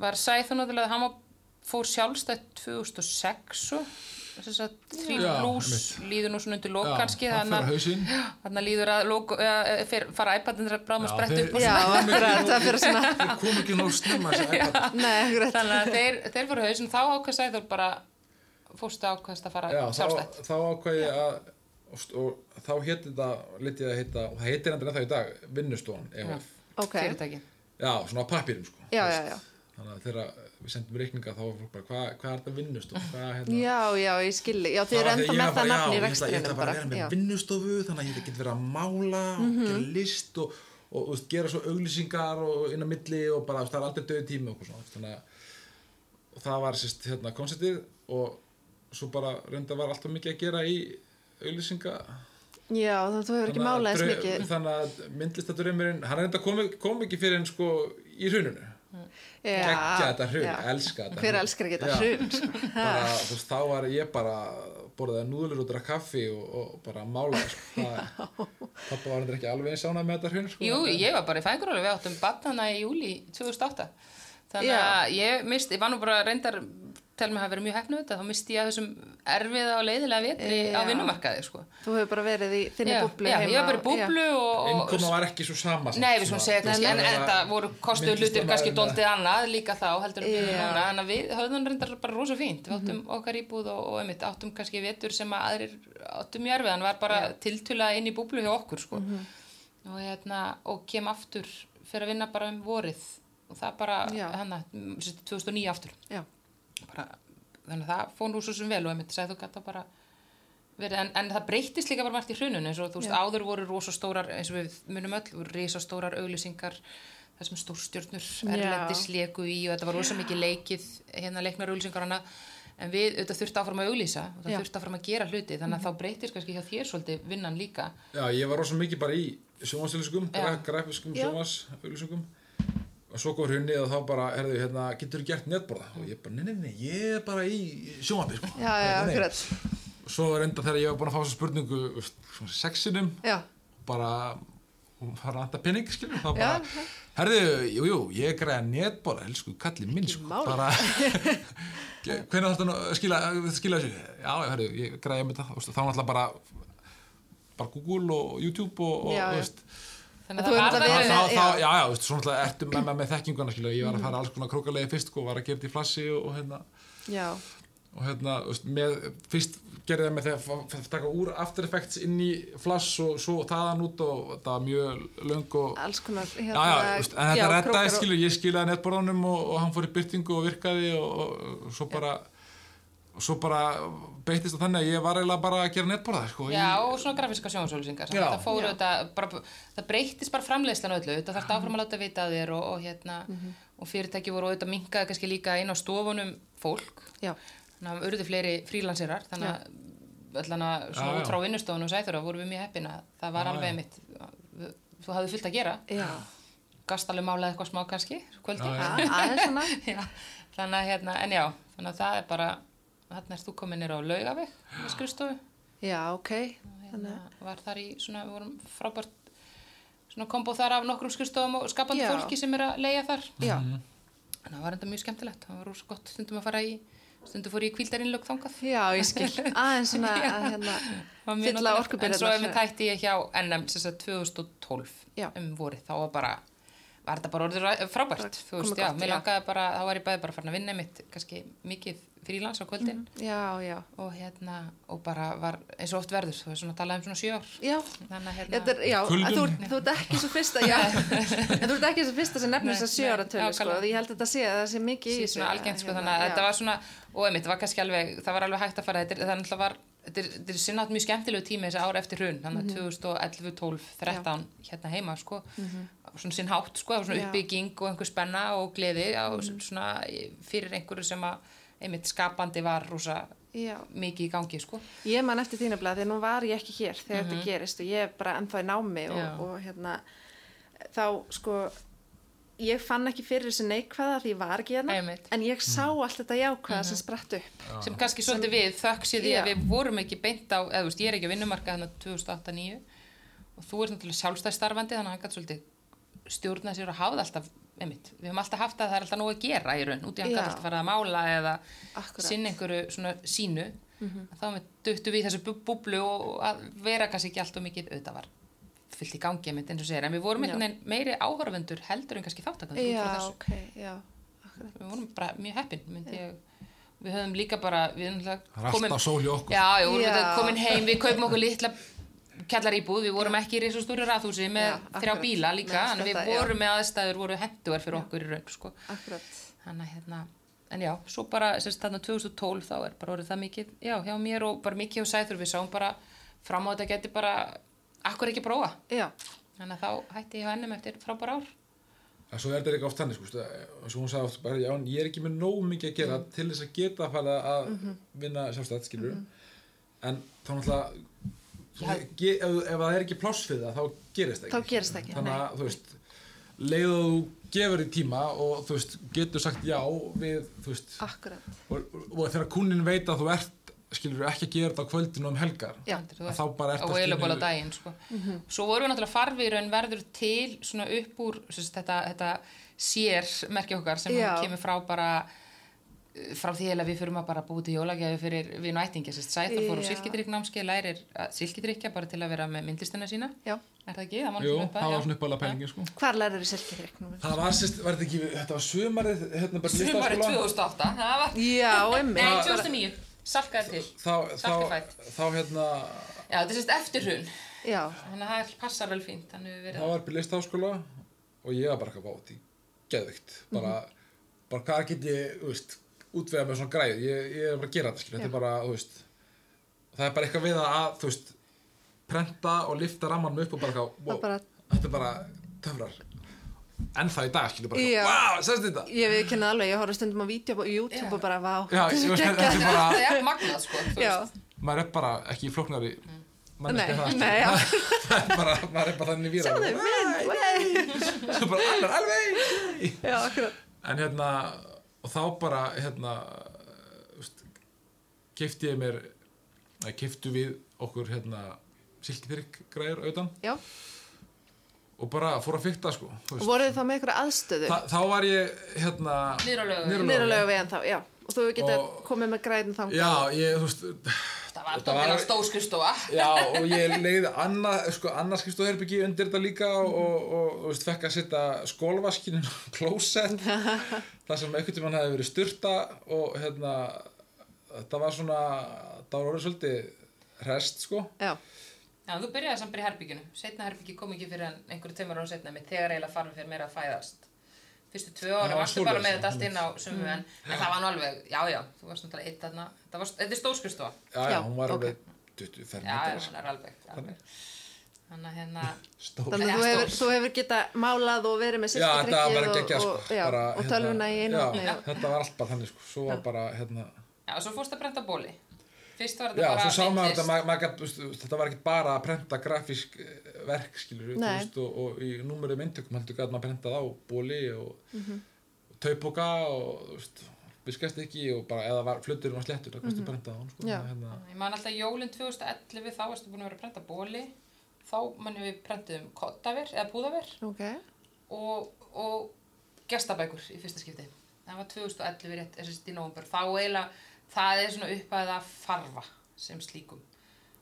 B: var Sæþó náttúrulega hann var, fór sjálfstætt 2006 og þess að þrý
C: Já,
B: pluss líður nú svona undir lók
C: Já,
B: kannski
C: það fer á hausinn.
B: þannig að líður að lók, uh, fyr, fara iPadinir að bráma
C: Já,
B: sprett
C: þeir-
B: upp og
A: já, akkurat, það fyrir svona
C: það kom ekki nóg snemma þessi iPad.
A: Nei, akkurat,
B: þannig að þeir, þeir fóru hausinn þá ákvæð Sæþór bara fórstu ákvæðast að fara
C: Já, þá,
B: sjálfstætt
C: þá ákvað ég að og, st- og þá héti þetta, litið að heita og það heitir endur ennþá í dag, vinnustofan
B: Já.
C: EHF.
A: ok,
B: fyrirtæki
C: Já, svona á pappýrum sko.
A: já,
C: Þú
A: já,
C: veist,
A: já
C: Þannig að þegar við sendum reikninga þá var fólk bara, hvað hva er þetta vinnustofan? Hvað, hérna,
A: Já, já, ég skilji, já þið
C: Það
A: eru ennþá
C: var þegar ég
A: með
C: var
A: það
C: bara,
A: nafn í
C: já, Ég ætla
A: rekstrinum
C: bara
A: bara
C: að
A: já.
C: vera
A: Mhm.
C: með vinnustofu þannig að ég get verið að mála og gera list og, og, og veist, gera svo auglýsingar og inn á milli og bara þú veist, það er aldrei döði tími og okkur svona veist, þannig að og það var sérst hérna konceptið og svo bara reynda var alltaf mikið að gera í auglýsinga
A: já, þannig að þú hefur ekki
C: Þannig að
A: málað eins
C: drau-
A: mikið
C: þannig að myndlistadraumurinn hann reynda kom, kom ekki fyrir en sko í hruninu geggja þetta hrun,
A: já.
C: elska þetta
A: Hver
C: hrun.
A: elskar ekki þetta
C: Já
A: hrun? sko?
C: bara, þú veist, þá var ég bara borðaði núðlur og drakk kaffi og, og bara málaði sko. það, pappa var hendur ekki alveg eins ánað með þetta hrun sko.
B: Jú, ég var bara í fæðingarólu, við áttum batnana í júli 2008 þannig
A: Já.
B: að ég misti, ég var nú bara reyndar tel mig að hafa verið mjög hefnum þetta þá misti ég að þessum erfiða og leiðilega vetri
A: Já.
B: á vinnumarkaði sko.
A: Þú hefur bara verið í þinni
B: já,
A: búblu
B: já,
A: heima
B: ég var bara í búblu og,
C: innkoma var ekki svo sama samt,
B: Nei, við svona segja kannski, en, en það voru kostuð hlutir kannski
C: myndlistamaðurinn
B: dóldið annað líka þá heldur við
A: Já. Mhm.
B: núna, en að við höfðum reyndar bara rosa fínt, við áttum okkar íbúð og, og einmitt áttum kannski vetur sem að aðrir áttum í erfiðan, var bara tiltulað inn í búblu hjá okkur sko
A: Mhm.
B: og hérna, og kem aftur fyrir að vinna bara um vorið og það bara,
A: Já.
B: hérna, mm, sem sagt, 2009 aftur
A: Já,
B: bara, þannig að það fór nú svo sem vel og einmitt sagði þú gata bara verið, en, en það breytist líka bara margt í hrunun eins og þú veist,
A: Já.
B: áður voru rosastórar eins og við munum öll, voru risastórar auglýsingar þar sem stórstjörnur erlendis leku í og þetta var rosa mikið leikið hérna leiknar auglýsingar hana en við auðvitað þurfti áfram að auglýsa og það
A: Já. Mhm.
B: þurfti áfram að gera hluti þannig að þá breytist kannski hjá þér svolítið vinnan líka
C: já, ég var rosa mikið bara í sjónvarsauðlýsingum
B: Já.
C: grafiskum
A: Já.
C: sjónvarsauðlýsingum og svo kom hrunni og þá bara, herðu, hérna, getur þú gert netborða og ég bara, nei, nei, nei, ég er bara í sjónvarpi sko.
A: já, já,
C: Nei, nei.
A: akkurat
C: og svo reynda þegar ég var búin að fá þessa spurningu þú veist, svona sexinum
A: Já,
C: bara hún fara að anta pening skilur þá
A: Já,
C: bara, herðu, jú, jú, ég greiða netbóla, elsku, kalli minn sko,
A: mál.
C: bara hvernig þarfst að skila, skila þessu já, herðu, ég greiða með það þá náttúrulega bara bara Google og YouTube og, og
A: Já, já.
C: þú veist,
B: þannig
A: Þú
B: að
A: hefur
B: það
A: náttúrulega
B: var
A: verið-
B: það
C: þá, þá,
A: já. Mm.
C: já, já, veist, svona alltaf ertu með, með, með þekkinguna skilur, ég var að fara alls konar krókalegi fyrst og var að gera þetta í flassi og, og hérna
A: já,
C: og hérna, þú veist, með, fyrst gerði það með þegar að taka úr After Effects inn í Flash og svo þaðan út og það var mjög löng og
A: alls konar
C: já, já, þú veist, en
A: hérna, já,
C: þetta
A: krókar
C: rettaði
A: og-
C: skilur, ég skilaði netborðanum og, og hann fór í byrtingu og virkaði og, og, og svo bara og svo bara beittist það þannig að ég var eiginlega bara að gera netborða sko, í-
B: Já, og svona grafíska sjónsólusingar
C: Já.
B: það fóru
A: Já.
B: þetta, bara, það breytist bara framleiðslan öllu, þetta þarf áfram að láta vita að þér og, og hérna, og fyrirtæki voru auðvitað minkaði kannski líka inn á stofunum fólk,
A: Já,
B: þannig að urðu fleiri frílansirar, þannig að allan að
C: Já,
B: svona
C: já.
B: út frá vinnustofunum og sæþóra vorum við mjög heppin að það var
C: Já,
B: alveg
C: já.
B: mitt, þú hafði fullt að gera
A: já,
B: gast alveg málað eitthvað smá kannski, kvöldi
C: Já,
A: A- aðeins svona
B: já, þannig að hérna, en já þannig að það er bara, þarna er þú komin nýr á laugaveg, með skrifstofu
A: Já, ok
B: hérna, var þar í svona, við vorum frábært svona kombo þar af nokkrum skurstofum og skapandi
A: Já.
B: fólki sem er að leia þar
A: Já,
C: Mhm.
B: þannig að það var enda mjög skemmtilegt, það var rosa gott stundum að fara í, stundum fór ég í kvíldarinnlög þangað
A: já, ég skil Aðeins svona að hérna
B: Það var mjög
A: Fylla
B: notalegt.
A: orkubirgðirnar.
B: en svo ef við tætti ég hjá NM sem sagt 2012
A: Já.
B: um vorið, þá var bara var þetta bara orðið ræ- frábært, þú
A: komið
B: veist, já,
A: gott,
B: mér
A: já.
B: langaði bara þá var ég bæði bara farin að vinna mitt, kannski mikið frílans á kvöldin
A: Já, já,
B: og hérna, og bara var eins og oft verður, þú veist, svona talaði um svona sjö ár
A: já
B: þannig að hérna
A: Þetta er, já,
C: Kuldum.
A: að þú, ert- þú ert ekki svo fyrsta já, en þú ert ekki svo fyrsta sem nefnir
B: Nei,
A: þess að sjö
B: nei,
A: ára tölu sko,
B: nákvæmlega.
A: því ég held að þetta sé að það sé mikið
B: sí,
A: þessu,
B: svona algengt sko
A: hérna,
B: þannig að
A: já.
B: þetta var svona og einmitt, það var kannski alveg, það var alveg hægt að fara þetta, er- það náttúrulega var, þetta er, þetta er sinnátt mjög skemmtilegu tími þessi ára eftir hrun
A: Mhm.
B: þannig að 2011, 12, 13 hérna heima sko, svona sinn hátt sko, það var svona
A: Mhm. Já. Mhm.
B: uppbygging og einhver spenna og gleði og svona fyrir einhverju sem að einmitt skapandi var rosa
A: já,
B: mikið í gangi sko
A: ég man eftir þínu blað því að nú var ég ekki hér þegar þetta gerist og ég er bara ennþá í námi
B: Já.
A: og, og hérna þá sko ég fann ekki fyrir þessu neikvæða því ég var ekki hérna
B: Einmitt.
A: en ég sá allt þetta jákvæða sem spratt upp
B: sem kannski svolítið við þökk sé því að
A: Já.
B: við vorum ekki beint á, eða þú veist, ég er ekki að vinnumarka þannig 2008-2009 og þú ert náttúrulega sjálfstæð starfandi þannig að hann gætt svolítið stjórna sér og hafa það alltaf, einmitt, við höfum alltaf haft að það er alltaf nóg að gera í raun, út í hann
A: Já.
B: gætt alltaf fara að mála eða
A: Akkurat.
B: sinna einhverju svona sínu mm
A: Mhm.
B: -hmm. þá með duttum við í þessu bú- búblu og og að vera kannski ekki alltaf mikið auðvitað var fyllt í gangi einmitt eins og segir en við vorum einhvern veginn meiri áhorfendur heldur en kannski þáttakandur
A: já, ok, já, akkurat
B: við vorum bara mjög heppin myndi ég við höfum líka bara við erum
C: Það er
B: náttúrulega komin
C: alltaf sól í okkur.
B: já, já, við
A: Já.
B: erum þetta komin heim, við kaupum okkur litla kjallar íbúð, við vorum ekki í risastúri rathúsi með
A: Já,
B: þrjá
A: akkurat.
B: bíla líka
A: Nei,
B: þannig við
A: þetta, já.
B: vorum með aðstæður, voru henduar fyrir okkur í raun sko.
A: akkurat
B: þannig að hérna en já, svo bara, sérst þarna 2012 þá er bara orðið það mikið, já, hjá mér og bara mikið og sæður við sáum bara fram á þetta geti bara, akkur ekki prófa
A: já,
B: þannig að þá hætti ég hjá ennum eftir frábara ár
C: En svo er þetta líka oft þannig, sko, og svo hún sagði oft bara, já, en ég er ekki með nóg mikið að
B: Mm.
C: gera til þess að geta að fara að
B: Mhm.
C: vinna sjálfstætt, skilur en þá náttúrulega
B: Já.
C: ge- ef, ef það er ekki pláss fyrir það, þá gerist það
A: Þá
C: ekki.
A: gerist það ekki,
C: Þannig að, þú veist, leið og þú gefur í tíma og, þú veist, getur sagt já við, þú veist,
B: Ah.
A: akkurat
C: og, og þegar kúnin veit að þú ert, skilur ekki að gera þetta á kvöldinu um helgar,
A: Já. Mhm.
B: Andri,
C: Að þá bara ertu
B: á
C: allt í einu-
B: eilabóla daginn sko. svo vorum við náttúrulega farfir en verður til svona upp úr sérst, þetta, þetta sér merki okkar sem
A: Já.
B: kemur frá bara eh, frá því eiginlega við fyrir maður bara að búi til jólagjafi fyrir vinn og ættingi Sæþór
A: Já.
B: fór úr silkidrykknámski lærir silkidrykja bara til að vera með myndlistina sína
A: já.
B: er það ekki? Það var
C: jú,
B: náttúrulega upp að-
C: það
B: já.
C: var svona uppálega pælingi, sko.
A: hvar lærir þú silkiþrykk?
C: Það var sérst, var þetta ekki, þetta var sumarið, hérna bara
B: Sumarið
C: listaháskóla?
B: 2008 það var,
A: já, emmi
B: Nei, 2009, salkaði til
C: þá, þá,
B: Sacrifice.
C: þá hérna
B: Já, þetta er sérst eftirhun
A: já,
B: Þannig að það passar vel fínt Þannig við verið
C: þá var upp í listaháskóla og ég var bara eitthvað báti geðvikt bara,
A: Mhm.
C: bara hvað get ég þú veist, útvega með svona græð ég, ég er bara að gera þetta skilur, þetta er bara þú veist, það er bara eitthvað við að þú veist, prenta og lifta rammanum upp og bara eitthvað,
A: Það bara-
C: þetta er bara töfrar en það í dag skilur bara
A: Já.
C: eitthvað, wow, sérst þetta
A: ég við kynna alveg, ég horfði stundum á vídeo á YouTube og bara, vá,
C: Já, ég veist, þetta er
B: Það
C: bara,
B: er magnað sko þú
A: já,
B: veist.
C: maður er bara ekki í flóknari
A: Mm. nei,
C: manneskja en það, skilur.
A: nei, já
C: Það er bara, maður er bara þannig víra
A: sjáðu, mynd, vei
C: Svo bara, alveg, alveg
A: já, akkurat,
C: en hérna og þá bara hérna kefti ég mér eða keftu við okkur hérna silkitrygg græður auðan
A: já
C: og bara fór að fykta sko
A: og
C: þú veist.
A: voruð þið þá með einhverja aðstöðu
C: Þa, þá var ég hérna niður
B: Niður á Laugaveg.
C: á Laugaveg.
A: nýralega veginn þá, já og þú getið
C: Og-
A: komið með græðin þá
C: já, ég, þú veist
B: Það var
C: Þetta var-
B: dóttir á stóðskristofa
C: já, og ég leiði annað sko, annarskristoherbyggi undir þetta líka
A: Mhm.
C: og, og, og þú veist, fekk að setja skólvaskinin klósett þar sem einhvern tímann hefði verið styrta og hérna þetta var svona, það var orðið svolítið rest sko
A: já,
B: Já, þú byrjaði samt bara í herbygginu Setna herbyggi kom ekki fyrir en einhverju tveimur án setna með þegar eiginlega farfið fyrir meira að fæðast Fyrstu tvö
C: Það
B: ára
C: var
B: varstu
C: svoleiðis,
B: bara
C: Mm.
B: með þetta allt inn á sumu en, en það var nú alveg, já, já, þú varst náttúrulega eitt þarna Þetta var- þetta er stóðskristofa
C: já, já,
A: Já,
C: hún var
A: ok.
C: alveg 25
B: Já, já,
C: metrar
B: það er alveg alveg. Þannig að hérna
C: stór
A: þannig að
B: Já,
A: þú hefur,
B: stór.
A: þú hefur getað málað og verið með
C: já, þetta var bara
A: silkitrykkið
C: geggja
A: og,
C: sko
A: og, já,
C: bara,
A: og tölvuna í einu
C: já,
A: já,
C: þetta var allt bara þannig sko svo var bara, hérna
B: Já, svo fórst að brenda bóli Fyrst var
C: Já,
B: þetta bara
C: svo sá maður
B: myndlist.
C: þetta, maður, maður gat, þú veist, þetta var ekkert bara að prenta grafísk eh, verk, skilur við,
A: Nei.
C: veist, og, og í númurum eintökum heldur gæt maður prentað á bóli og, mm
A: Mhm.
C: og taupoka og, þú veist, viskast ekki og bara, eða var, fluturinn var slettur, það kosti prentað á hann, sko,
A: Mhm. Já.
C: þannig að hérna,
B: Ég man alltaf jólinn 2011 þá varstu búin að vera að prenta bóli þá mannum við prentum kottaver eða búðaver
A: ok,
B: og, og gestabækur í fyrsta skipti það var 2011 rétt sérst í nóvumber þá eiginlega það er svona uppæða farfa sem slíkum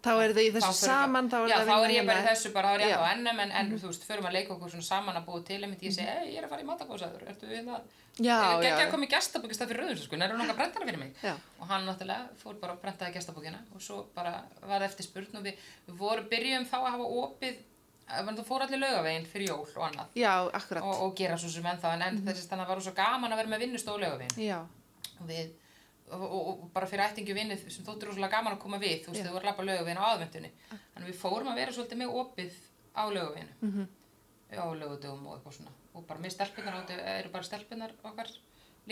A: þá eru þið í þessu
B: fyrir-
A: saman þá eru þið
B: já,
A: að
B: þá
A: vinna
B: er ég bara í
A: hérna.
B: þessu bara þá er ég
A: Já. Mhm.
B: alltaf á ennum en, en þú veist förum að leika okkur svona saman að búa til einmitt ég segi hey, ég er að fara í matakósaður ertu við það
A: Já, já,
B: ég
A: já.
B: ekki að koma í gestabók í stað fyrir rauðum sko en eru nokkað brentara fyrir mig
A: Já.
B: og hann náttúrulega fór bara og brentaði gestabókina og svo bara var eftir spurn og við, við vorum byrjum þá að hafa opið það fór allir laugavegin fyrir jól og annað
A: já, akkurat
B: og, og gera svo sem ennþá en, en þessi þannig að það var svo gaman að vera með vinnustóðlaugavinn
A: já,
B: og við og, og, og bara fyrir ættingu vinnu sem þóttir rosalega gaman að koma við þú veist þau voru að lappa laugavinn á aðvendunni þannig að við fórum að vera svolítið með opið á laugavinn á laugardögum og eitthvað svona og bara með stelpunar áttu eru bara stelpunar okkar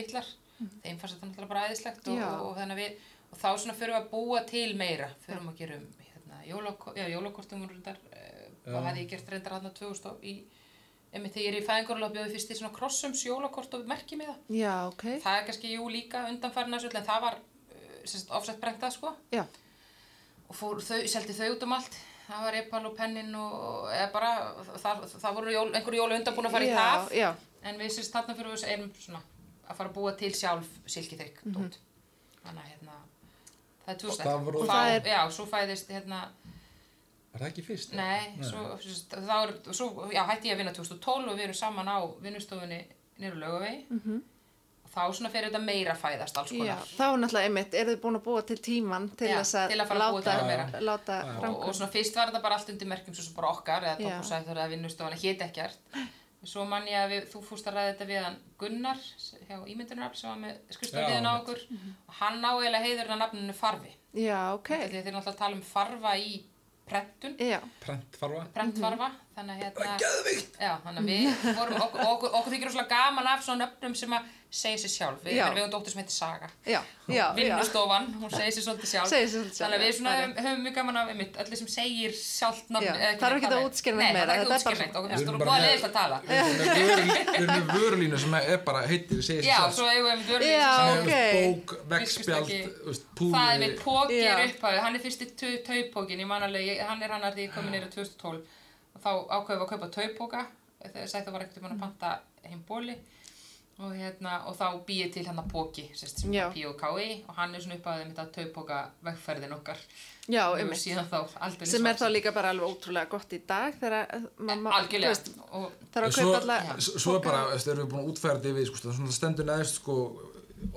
B: litlar þeim fannst þetta náttúrulega bara æðislegt og,
A: Já.
B: og, og þannig að við og þá svona fyrir við að búa til meira fyrir við að gera um hérna, jólako- já, jólakortum og reyndar eh, og hefði ég gert reyndar hann á 2000 og í Emi, þegar ég er í fæðingarlega bjóði fyrst í svona krossums jólakort og merki með það.
A: já, ok
B: Það er kannski jú líka undanfærin að svolítið en það var eh, sem sagt, offset brentað sko
A: já,
B: og fór, þau, seldi þau út um allt það var epal og pennin og eða bara, það, það voru jól, einhverju jólu undan búin að
A: Já,
B: fara í það
A: já.
B: en við sérst þarna fyrir við erum svona að fara að búa til sjálf silkiþrygg
A: Mhm.
B: mm þannig að hérna það er tvöstætt
C: það voru-
A: Og það er-
B: já, svo fæðist hérna
C: var það ekki fyrst?
B: Nei, svo, sérst, þá er, svo já, hætti ég að vinna 2012 og við erum saman á vinnustofunni niður á Laugavegi. Mm -hmm. þá svona fyrir þetta meira að fæðast alls
A: Mhm. Já,
B: konar
A: þá náttúrulega einmitt eru þið búin að búa til tíman til
B: Já,
A: þess að,
B: til að fara að búa
A: láta,
B: til
C: meira.
A: láta
C: Já.
B: og, og
A: framkvæmd.
B: svona fyrst var þetta bara allt undir merkjum svo sem bara okkar eða
A: Já.
B: toppúsæður eða vinnustofan að hétt ekkert svo man ég að við, þú fúst að ræða þetta við hann Gunnar hjá Ímyndunarafl sem var með
C: Já,
B: skrifstofniðin á
C: einmitt.
B: okkur og hann á eiginlega heiður að nafninu Farfi
A: Já, ok.
B: hey. þeir náttúrulega að tala um farfa í prentun
A: Já,
C: prentfarfa
B: prentfarfa þannig að hérna já, þannig að við vorum okkur, okkur, okkur þykir rosalega gaman af svona nöfnum sem að segja sér sjálf við,
A: Já.
B: við höfum dóttur sem heitir Saga
A: já, já. já.
B: vinnustofan, hún segir sér svolítið sjálf
A: Segir sig svolítið sjálf,
B: þannig að við
A: já,
B: svona
A: það er
B: höfum, höfum mjög gaman af einmitt, öllu sem segir sjálft nafn
A: Já,
B: eða hvernig
A: þarf ekki
B: það
A: að
B: er.
A: útskýra neitt
B: Nei,
A: meira,
B: það þarf ekki
A: þetta er bara
B: að útskýra neitt, okkur
C: Við
B: finnst
C: erum
B: þú
C: bara
B: búið að
C: með-
B: leiðist að tala
C: Við erum með vörulínu- við erum með vörulínu sem er bara heitir, segir sig
B: já,
C: sjálft.
B: svo eigum við um vörðu
A: Já,
C: Sem er,
A: ok.
C: þú veist, bók,
B: Fiskustykki.
C: veggspjald, þú veist, púi
B: það er mitt póki
A: Já.
B: er upphafið, hann er fyrsti tau- taupókin, ég man alveg, ég- hann er hann að því ég komin nýra 2012 og þá ákveðum við að kaupa taupóka, þegar sættu var ekkert um hann að panta heim bóli og hérna, og þá býið til hann að póki, sérst, sem
A: Já.
B: er P.O.K.I. E. og hann er svona upphafið mitt að taupóka vegferðin okkar
A: Já,
B: og
A: einmitt.
B: síðan þá aldrei
A: Sem er þá líka bara alveg ótrúlega gott í dag þegar eh, mamma,
B: Eh, algjörlega,
A: þú
B: og
A: þarf að
C: Svo,
A: kaupa alla...
C: s- svo er bara, þú veist, erum við búin að útfæra þetta yfir, sko, það er svona stendur neðist, sko,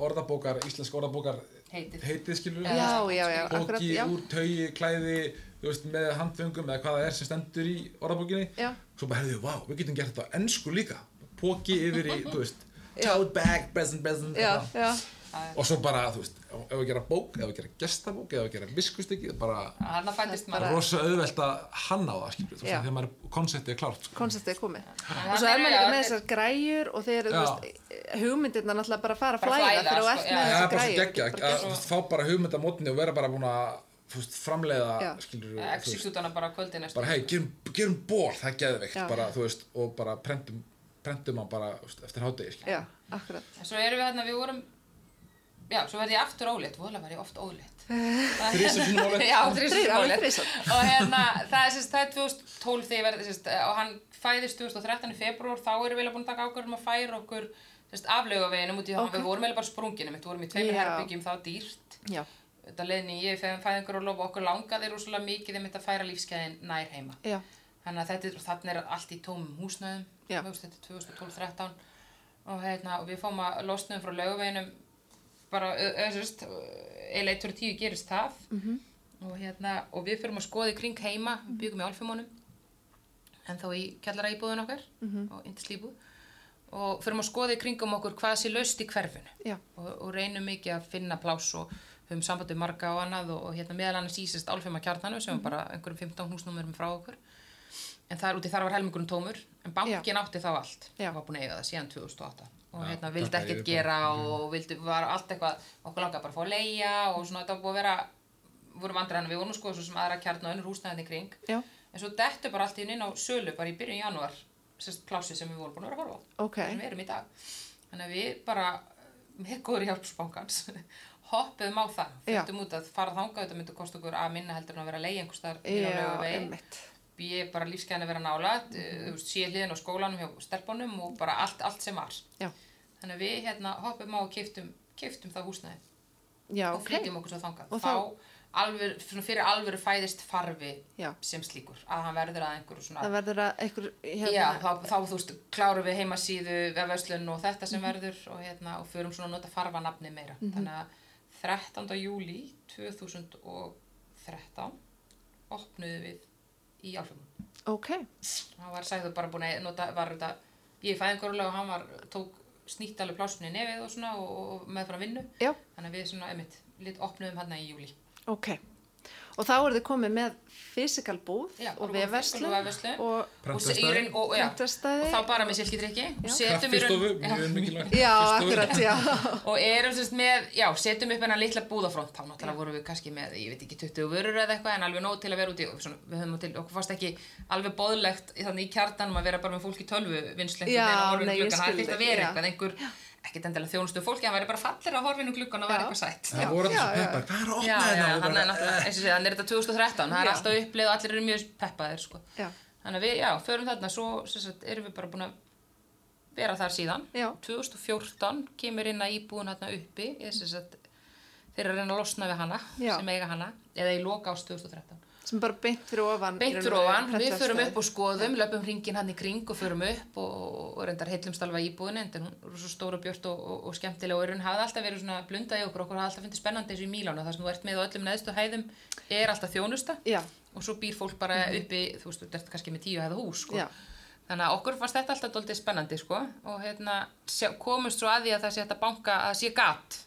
C: orðabókar, íslensk orðabókar,
B: heitið
C: heitið, skilur
A: Já, já, já, akkurat,
C: bóki
A: já.
C: úr taugi, klæði, þú veist, með handfengum eða hvað það er sem stendur í orðabókinni.
A: Já.
C: Svo bara, hefðu, vá, við getum gert þetta á ennsku líka. Póki yfir í, þú veist, tote bag, present, present,
A: Já,
C: eitthvað.
A: já,
C: Og svo bara, þú veist, ef ef við gera bók, ef við gera gestabók, ef við gera viskustykki, bara
B: hann að fættist
A: Bara-
B: maður
C: rosa auðvelt að hanna á það, skilur, þú veist,
A: Já.
C: þegar maður konceptið er klárt, sko.
A: konceptið er komið.
B: En
A: Og svo
B: þarna
A: er maður
B: eru-
A: líka
B: já,
A: með þessar græjur og þeir, þú
C: Já.
A: veist, hugmyndirna náttúrulega bara fara að
B: Bara
A: flæða
B: flæða,
A: þegar þú
B: sko,
A: ert
B: já.
A: með
C: það
A: þessar
C: er bara svo
A: græjur.
C: geggja að þú veist, fá bara hugmynd að mótni og vera bara búin að þú veist, framleiða
A: Já.
C: skilur, þú veist,
B: execute hana bara kvöldi næstu
C: bara hei, gerum, gerum ból það er geðveikt,
A: Já.
C: bara, þú veist, og bara prentum, prentum hann bara þú veist, eftir hádegi skilur.
A: Já, akkurat.
B: En svo erum við hérna, við vorum Já, svo verði ég aftur ólétt, voðalega var ég oft ólétt
C: þrísum sínum ólétt
B: Já,
A: Þrír,
B: þrísum
A: alveg
B: ólétt
A: þrír samt.
B: Og hérna, það er sérst, það er 2012 þegar ég verði sérst Og hann fæðist 2013 í februar Þá erum við eiginlega búin að taka ákvörðum að færa okkur Sérst, aflaugaveginum út í það
A: Ok.
B: Við vorum eiginlega bara sprunginum, við vorum í tveimur
A: Já.
B: herbyggjum Það var dýrt
A: Já,
B: Þetta leiðin ég fæðin fæðingur og lofa okkur langaði rosalega mikið þeim að færa lífskeiðin nær heima
A: já,
B: þannig að þetta er, þarna er allt í tómum húsnæðum
A: Já.
B: þú veist, þetta er 2012-13 og, hérna, og við fáum að losna um frá laugaveginum bara, öðsust eða 1.10 gerist það -hmm. og, hérna, og við fyrum að skoða í kring heima við byggum í Alfimónum en þá í kjallara íbúðun okkar -hmm. og indislíbúð og fyrum að skoða í kringum okkur hvað sé löst í hverfinu
A: já,
B: og, og reynum mikið að finna pláss og höfum sambandi við marga og annað og, og hérna meðal annars ísist álfema kjarnanum sem
A: Mhm.
B: er bara einhverjum 15 húsnúmerum frá okkur en þar úti þar var helmingurinn tómur en bankin átti þá allt
A: Já.
B: og var búin að eiga það síðan 2008 og
C: Já,
B: hérna
C: taka
B: vildi ekkert
C: yfir
B: gera og vildi var allt eitthvað okkur langaði bara að fá að leia og svona þetta var búið að vera voru vandræðan við vorum sko svo sem aðra kjarn og önnur húsnæðin í kring
A: já,
B: en svo dettu bara allt í einu inn á sölu bara í byrjun janúar sérst plássi sem við vorum búin að vera að horfa á
A: ok.
B: sem við erum í dag þannig að við bara með góður hjálpsbankans hoppuðum á það,
A: Já.
B: fættum út að fara þangað þetta myndi kosta okkur að minna heldur en að vera leið einhvers staðar inn á
A: Já,
B: Laugavegi.
A: einmitt. Mhm.
B: B, bara lífsgæðan að vera nálægt, mm. uh, sé hliðin á skólanum hjá stelpunum og bara allt, allt sem var
A: Já,
B: þannig að við hérna hoppum á og kiftum, kiftum það húsnæði
A: já,
B: og
A: ok.
B: flytjum okkur svo þangað
A: Og
B: þá alveg, svona fyrir alveg fæðist farfi
A: Já.
B: sem slíkur, að hann verður að einhverju svona
A: Það verður að einhver,
B: Já,
A: hérna,
B: þá, þá þú veist, klárum við heimasíðu vefverslun og þetta sem verður og, hérna, og förum svona að nota farfanafni meira. Þannig að 13. júli 2013 opnuðum við í Álfumum.
A: ok,
B: Hann var sagður bara búin að nota, var þetta, ég er fæðingarulega og hann var, tók snýtt alveg plásunni nefið og svona og, og með frá vinnu.
A: já,
B: Þannig að við svona, einmitt, lit opnuðum hann í júli.
A: ok. Og þá eru þið komið með fysikal búð
B: Já,
A: og
B: bara
A: vefverslun
B: og vefverslun.
A: og,
B: Og, se- í
C: Prentastaði.
B: raun- og, já,
A: Prentastaði.
B: og þá bara með silkidrykki og setjum í raun-
C: kaffistofu,
B: Já.
C: mjög mikilvægt
A: já,
C: Kaffistofu.
A: akkurat, já,
B: og erum semst með, já, setjum upp hennar litla búðafront, þá náttúrulega vorum við kannski með, ég veit ekki, 20 vörur eða eitthvað, en alveg nóg til að vera úti, og svona, við höfum til, okkur fast ekki alveg boðlegt í þannig í kjartanum að vera bara með fólk í tölvu vinslu
A: Já,
B: einhvern
A: nei, ég
B: veginn
A: skil
B: að horfa inn gluggan, það er fyrst að
A: þig,
B: vera
A: já.
B: eitthvað, einhver, ekkert endilega þjónustu fólki, það væri bara fallir að horfa inn um gluggan og
A: Já.
B: vera eitthvað sætt.
A: Já,
C: það voru
A: já,
C: þessu
A: já.
C: peppar, hvað er að
B: Já,
C: opna hérna?
B: já,
C: þetta
B: þannig er náttúrulega, eins og sé, þannig er þetta 2013, það er
A: Já.
B: alltaf upplið og allir eru mjög peppaðir, sko.
A: já,
B: Þannig að við, já, förum þarna, svo sem sagt, erum við bara búin að vera þar síðan.
A: já,
B: 2014 kemur inn að íbúin hérna uppi, ég syns að þeir eru að reyna að losna við hana,
A: Já.
B: sem eiga hana, eða í loka ást 2013.
A: sem er bara beint fyrir ofan í
B: beint
A: raun
B: fyrir
A: og veru
B: ofan, við
A: prentverkstæðið.
B: förum upp og skoðum löpum hringin hann í kring og förum upp og, og reyndar heillumst alveg íbúðin en hún er svo stóra björt og, og, og skemmtileg og í raun hafði alltaf verið svona blundað í okkur okkur hafði alltaf fyndið spennandi eins og í Mílánu þar sem þú ert með á öllum neðstu hæðum er alltaf þjónusta
A: Já,
B: og svo býr fólk bara uppi þú veist, þú ert kannski með tíu hæða hús sko.
A: Mhm. já,
B: þannig að okkur fannst þetta alltaf doldið spennandi sko. og hérna, sjá, komumst svo að því að það sé hægt að banka að sé gat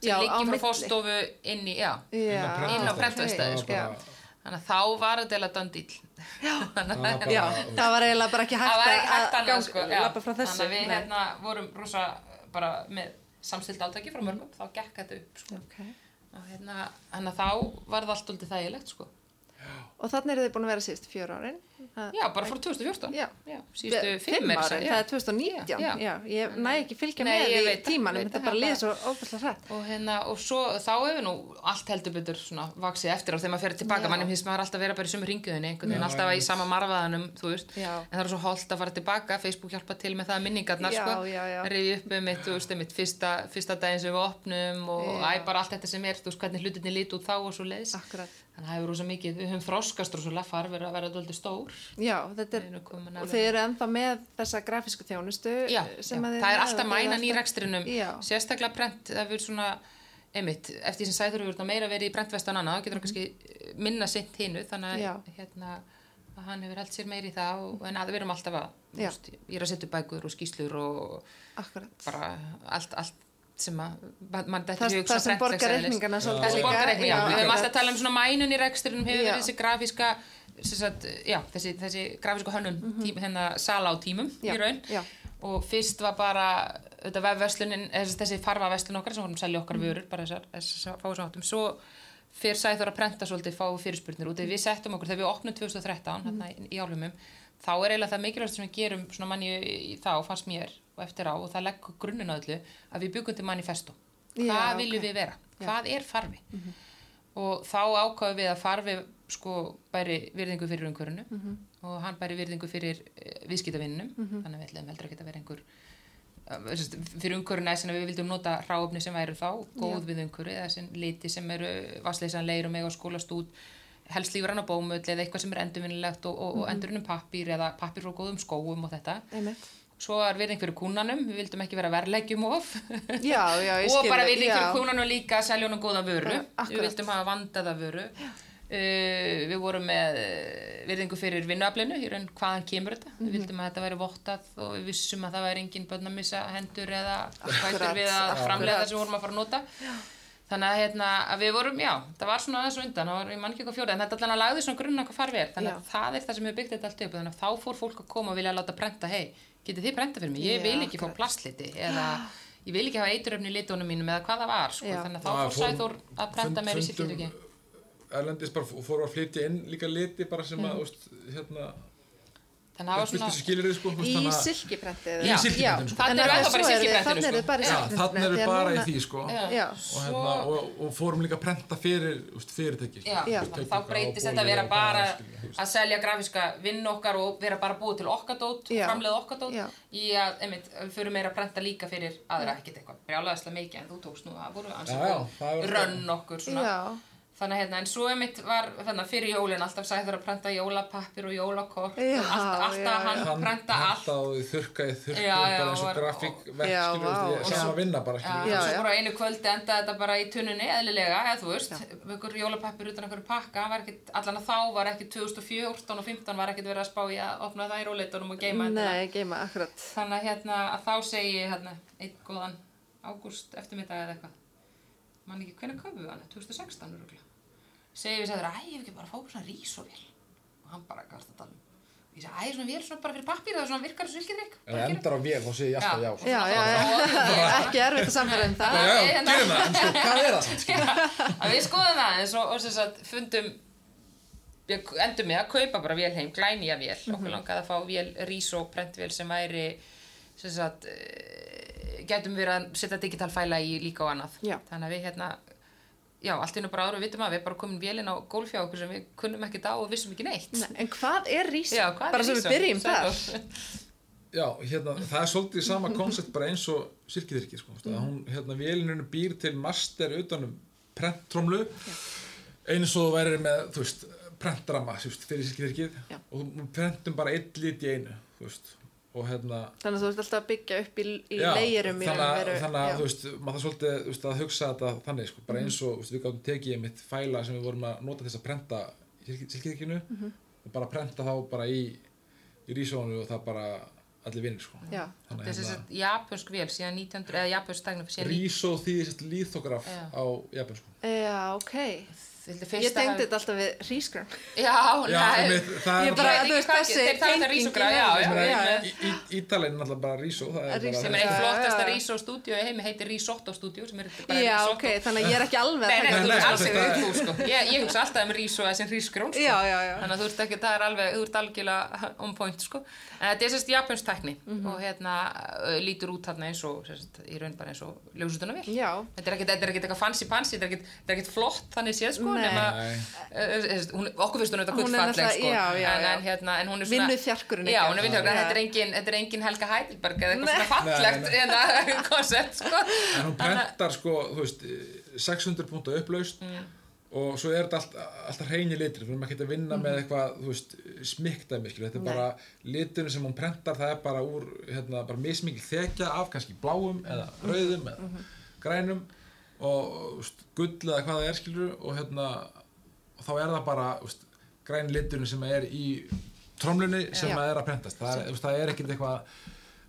B: sem
A: Já, á
B: liggi frá
A: milli.
B: fóstofu inn í, já,
A: já
B: inn á
C: Það
B: prentverkstæði
C: var
B: sko.
C: bara-
B: þannig að þá var þetta eða dandýll
C: það var bara-
A: Já, það var eiginlega bara ekki
B: það
A: hægt
B: var ekki hægt
A: að
B: annað
A: ganga-
B: sko já.
A: labba frá þessu
B: þannig að við
A: Nei.
B: hérna vorum rosa bara með samstilt átaki frá mörgum þá gekk þetta upp sko.
A: Ok.
B: og hérna, hérna þá var það allt undir þægilegt sko
A: Og þannig eru þið búin að vera síðust fjör árin
B: já, bara frá 2014
A: Já.
B: síðustu fimm er
A: árin, það er 2019 já,
B: Já.
A: Ég næ ekki fylgja
B: Nei,
A: með
B: ég
A: í
B: veit það,
A: tímanum
B: veit
A: Þetta
B: það,
A: bara
B: þetta-
A: líður svo óbærslega hrætt
B: og hérna, og svo þá hefur nú allt heldur betur svona vaksið eftir á þegar maður fyrir
A: Já.
B: tilbaka, mannum finnst maður alltaf vera bara í sumu ringuðinni, einhvern veginn
C: Já,
B: alltaf í
C: einmitt.
B: sama marfaðanum, þú veist
A: Já.
B: en það er svo holdt að fara tilbaka, Facebook hjálpa til með það minningarnar,
A: Já,
B: sko,
A: já, já.
B: reyði upp um mitt, þú veist, um mitt fyrsta, fyrsta daginn sem við opnum
A: Já.
B: og
A: Ah.
B: æ, bara allt þetta sem er, þú veist, hvernig hlutinni líti út þá og svo leiðis,
A: Akkurat
B: þannig að það hefur rosa mikið við höfum þroskast rosalega farfir að vera dóldi stór
A: Já, þetta
B: Við
A: er
B: erum komin
A: Og
B: alveg-
A: þið eru ennþá með þessa grafísku þjónustu
B: já, já.
A: eh, sem að þið
B: það er
A: náðuð,
B: alltaf
A: þið
B: mænan í
A: alltaf-
B: rekstrinum
A: Já.
B: um- sérstaklega prent, það verður svona einmitt, eftir því sem sæður við verðum meira verið í prentvestan annað, þá getur það kannski minna sint hinnu, þannig
A: Mhm. Já.
B: að, hérna, að hann hefur held sér meiri í það og, en að við erum alltaf að, þú
A: Já.
B: veist, ég er að setja upp bækur og skýslur og
A: Akkurat
B: bara allt, allt sem að mann man dættir
A: Það, það sem borgar reikningana svolítið
B: það sem
A: líka.
B: borgar reikninga,
A: Já,
B: við höfum
A: akkurat.
B: alltaf að tala um svona mænun í rekstrinum hefur
A: Já.
B: verið þessi grafíska sem sagt, já, þessi, þessi grafísku hönnun mm hérna sala á tímum
A: Mhm. Já,
B: í raun
A: já.
B: og fyrst var bara þetta vefverslunin, þessi, þessi farvaverslun okkar sem vorum að selja
A: Mm.
B: okkar vörur, bara þessar, þessar fáisáttum, svo fyrr sæður að prenta svolítið fá fyrirspurnir út, þegar við settum okkur þegar við opnum
A: Mm.
B: 2013, hérna í- í álumum þá er eiginlega það mikilvægast sem við gerum svona manni í þá, fannst mér og eftir á og það leggur grunninn á öllu að við byggum til manifesto, hvað
A: Já,
B: viljum
A: ok. Mhm.
B: við vera hvað er farvi og þá ákvaðum við að farvi sko bæri virðingu fyrir umhverjunu
A: Mhm,
B: og hann bæri virðingu fyrir uh, viðskiptavinnunum, þannig að við ætlum heldur að geta verið einhver eh, sem sagt, fyrir umhverjuna þess að við vildum nota ráfni sem væru þá góð við umhverju, eða sem liti sem eru vassleysanleir og mega skólast út helst lífrann á bómull eða eitthvað sem er endurvinnilegt og, og, og endurinnum pappir eða pappir frá góðum skóum og þetta
A: Einmitt.
B: svo var virðing fyrir kúnanum, við vildum ekki vera verleggjum of
A: Já, já, ég skil
B: og bara
A: þig,
B: við
A: já.
B: fyrir kúnanum líka að selja honum góða vöru
A: Bara, akkurat.
B: við vildum hafa vandaða vöru uh, við vorum með eh, virðingu fyrir vinnuaflinu í raun hvaðan kemur þetta
A: Mhm.
B: við vildum að þetta væri vottað og við vissum að það væri engin börn að missa hendur eða
A: Akkurat,
B: fætur við að
A: akkurat.
B: framlega það sem við vorum að fara að nota þannig að, hérna, að við vorum, já, það var svona aðeins og undan það var í mannkjöku fjórið, en þetta allan að lagði svona grunna hvað farfið er, þannig að
A: Já.
B: það er það sem hefur byggt þetta allt upp, þannig að þá fór fólk að koma og vilja láta prenta, hei, getið þið prenta fyrir mig ég
A: Já,
B: vil ekki fá plastliti eða ég vil ekki hafa eituröfni í litunum mínum eða hvað það var, sko,
A: Já.
B: þannig að þá fór Sæþór að prenta meira í sitt
C: fundum
B: líturki
C: erlendis bara og fóru að flytja inn líka liti bara sem að, úst, hérna
B: þannig að það var svona,
C: byrstu skilir þið sko þú veist,
A: Í
C: þannig að-
A: silkiprentið
B: Já. Í
C: silkiprentinu, sko.
B: Þarna eru ennþá bara í silkiprentinu,
A: Þannig eru bara
B: sko.
A: í
B: Já,
C: Já,
A: silkiprentinu
C: þannig eru
A: því að
C: bara í
A: núna-
C: því sko
B: Já.
A: Já,
C: og, hérna, og, og fórum líka að prenta fyrir úst, fyrirtæki sko.
B: já,
A: Já.
B: þannig að þá breytist þetta að vera bara að selja grafíska vinn okkar og vera bara búið til okkar dót,
A: Já.
B: framlega okkar dót
A: Já.
B: í að, einmitt, við förum meira að prenta líka fyrir aðra, ekkert eitthvað, brjálaðislega mikið en þú tókst nú að voru
C: Já, já, það
B: ansið
C: var-
B: rönn
C: sko.
B: okkur svona
A: já,
B: Þannig að hérna, en svo einmitt var þannig, að fyrir jólin alltaf sæður að prenta jólapappir og jólakort
A: Já,
B: og allt,
A: já,
B: alltaf hann prenta allt.
C: og þurrkaði þurrkaði
B: Já, já,
C: bara eins og
B: var-
C: grafíkverk
A: Já,
C: skilur
A: vá.
C: við,
A: Og
C: sem
A: svo-
C: að vinna bara
B: Já,
C: skilur
A: Já,
B: og
A: já.
B: svo bara einu kvöldi endaði þetta bara í tunnunni eðlilega, eða þú veist, einhver jólapappir utan einhver pakka, var ekkit, allan að þá var ekki 2014 og 15 var ekkit verið að spá í að opna þær og leitunum og geima þetta.
A: nei, geima, akkurat
B: Þannig að hérna, að þá segi ég hérna, einn góðan ágúst eftirmiddag eða eitthvað. Man ekki, hvenær köfum við hann? 2016 öruglega. Segir við sæður, æ, ég hef ekki bara að fá svona rísovél. Og hann bara gafst að tala um. Ég segi, æ, svona vél svona bara fyrir pappir, það svona virkar svilkidrykk.
C: ef það endar á vél þá sé ég alltaf já, sko.
A: Já, já, já, ekki erfitt að samfæra um það
C: já, já,
B: hérna.
C: gerum það, en sko, hvað er það samt, skilur
B: að við skoðum það eins og, og sem sagt fundum ég endur með að kaupa bara vél heim glænýja vél,
A: Mhm.
B: okkur langaði að fá vél Riso prentvél sem væri sem sagt eh, gætum við að setja digital fæla í líka og annað
A: Já.
B: þannig að við hérna já, allt innum bara áður við vitum að við erum bara komin vélinn á gólf hjá okkur sem við kunnum ekkert á og vissum ekki neitt
A: Nei, En hvað er rísa?
B: já, hvað er
A: Bara svo
B: Riso?
A: við byrjum þar
B: Sæður.
C: Já, hérna, það er svolítið sama koncept bara eins og sirkiðyrki, sko, mm. að hún, hérna, vélinunum um býr til master utanum prenttromlu eins og þú værir með, þú veist, prentramma þú veist, fyrir sískirkið
A: Já.
C: og þú prentum bara einn lit í einu þú veist, og hérna
A: Þannig að þú ert alltaf að byggja upp í, í
C: Já,
A: leirum í
C: þannig
A: raun og
C: að-
A: veru.
C: þannig að
A: Já. Mhm.
C: þú veist, maður það svolítið þú veist, að hugsa þetta þannig sko, bara eins og þú veist, við gáttum tekið einmitt fæla sem við vorum að nota til þess að prenta silkiðkinu mm
A: Mhm.
C: -hmm. og bara prenta þá bara í, í rísónu og það bara allir vinnir sko.
A: Já.
B: Þetta er
C: þannig
B: sem
C: að hérna,
B: sagt japansk vél síðan 1900, eða japansk stæknum síðan
C: rísó því þess að líþograf
B: Já.
C: á Japan sko.
A: Já, ok.
B: 1900.
A: Ég tengdi þetta alltaf við hrísgrömm.
B: Já,
C: Já,
B: nei.
C: einmitt, það
A: Ég
C: er
A: bara-
B: Ég veit
A: þú
B: ekki
A: veist,
B: hvað-
A: þessi
B: Þeir tala
A: tenging
B: þetta
A: í
B: rísokra,
A: náttúrunni.
B: já, já,
C: Ég
B: já.
C: meina,
B: já.
C: í- í- Ítalinn er náttúrulega bara rísó það er
A: Risó.
B: Sem
C: bara
B: er eitt
A: Já,
B: flottasta
A: já.
B: risóstúdíu í heimi, heitir risóttostúdíu sem er bara
A: Já,
B: risotto.
A: ok, þannig að ég er ekki alveg
B: Nei,
A: að
B: nei,
A: taka
B: þú
C: nei,
B: ert alls
C: þetta
B: yfir
C: er-
B: upp úr, sko. Ég, ég hugsa alltaf um risó eða sem risgrón, sko.
A: Já, já, já.
B: Þannig að þú ert ekki, það er alveg, þú ert algjörlega on point, sko. En þetta er sérst japansk tækni
A: Mhm.
B: og hérna ö, lítur út þarna eins og, sérst, í raun bara eins og ljósutunarvél.
A: Já,
B: Þetta er ekkert- þetta er ekkert eitthvað fancy pansi, þetta er ekkert- þetta er ekkert flott þannig séð, sko,
A: Nei.
B: nema,
C: Nei.
B: ö, ö, sérst, hún, okkur finnst hún þetta
A: Hún er
B: gullfalleg,
A: náttúrulega-
B: sko.
A: já, já, já.
B: en, en, hérna, en hún er svona...
A: vinnu þjarkurinn
B: Já, hún er vinnhjörgur,
A: Já.
B: þetta er engin, þetta er engin Helga Heidelberg eða eitthvað
A: Nei.
B: svona fallegt
C: Nei,
B: hérna, koncept, sko.
C: en hún prentar sko, þú veist, 600 púnta upplaust
B: Mm.
C: og svo er þetta allt, alltaf reynir litur við erum ekki að vinna með eitthvað þú veist, smiktæmi, skilur, þetta er
A: Mhm. Nei.
C: bara liturinn sem hún prentar, það er bara úr hérna, bara mismikil þekja af kannski bláum eða
A: Mhm.
C: rauðum eða grænum og þú veist, gull eða hvað það er skilur og hérna og þá er það bara þú veist, græn liturinn sem er í tromlunni sem
A: Já.
C: að er að prentast það er, þú veist, það er ekkert eitthvað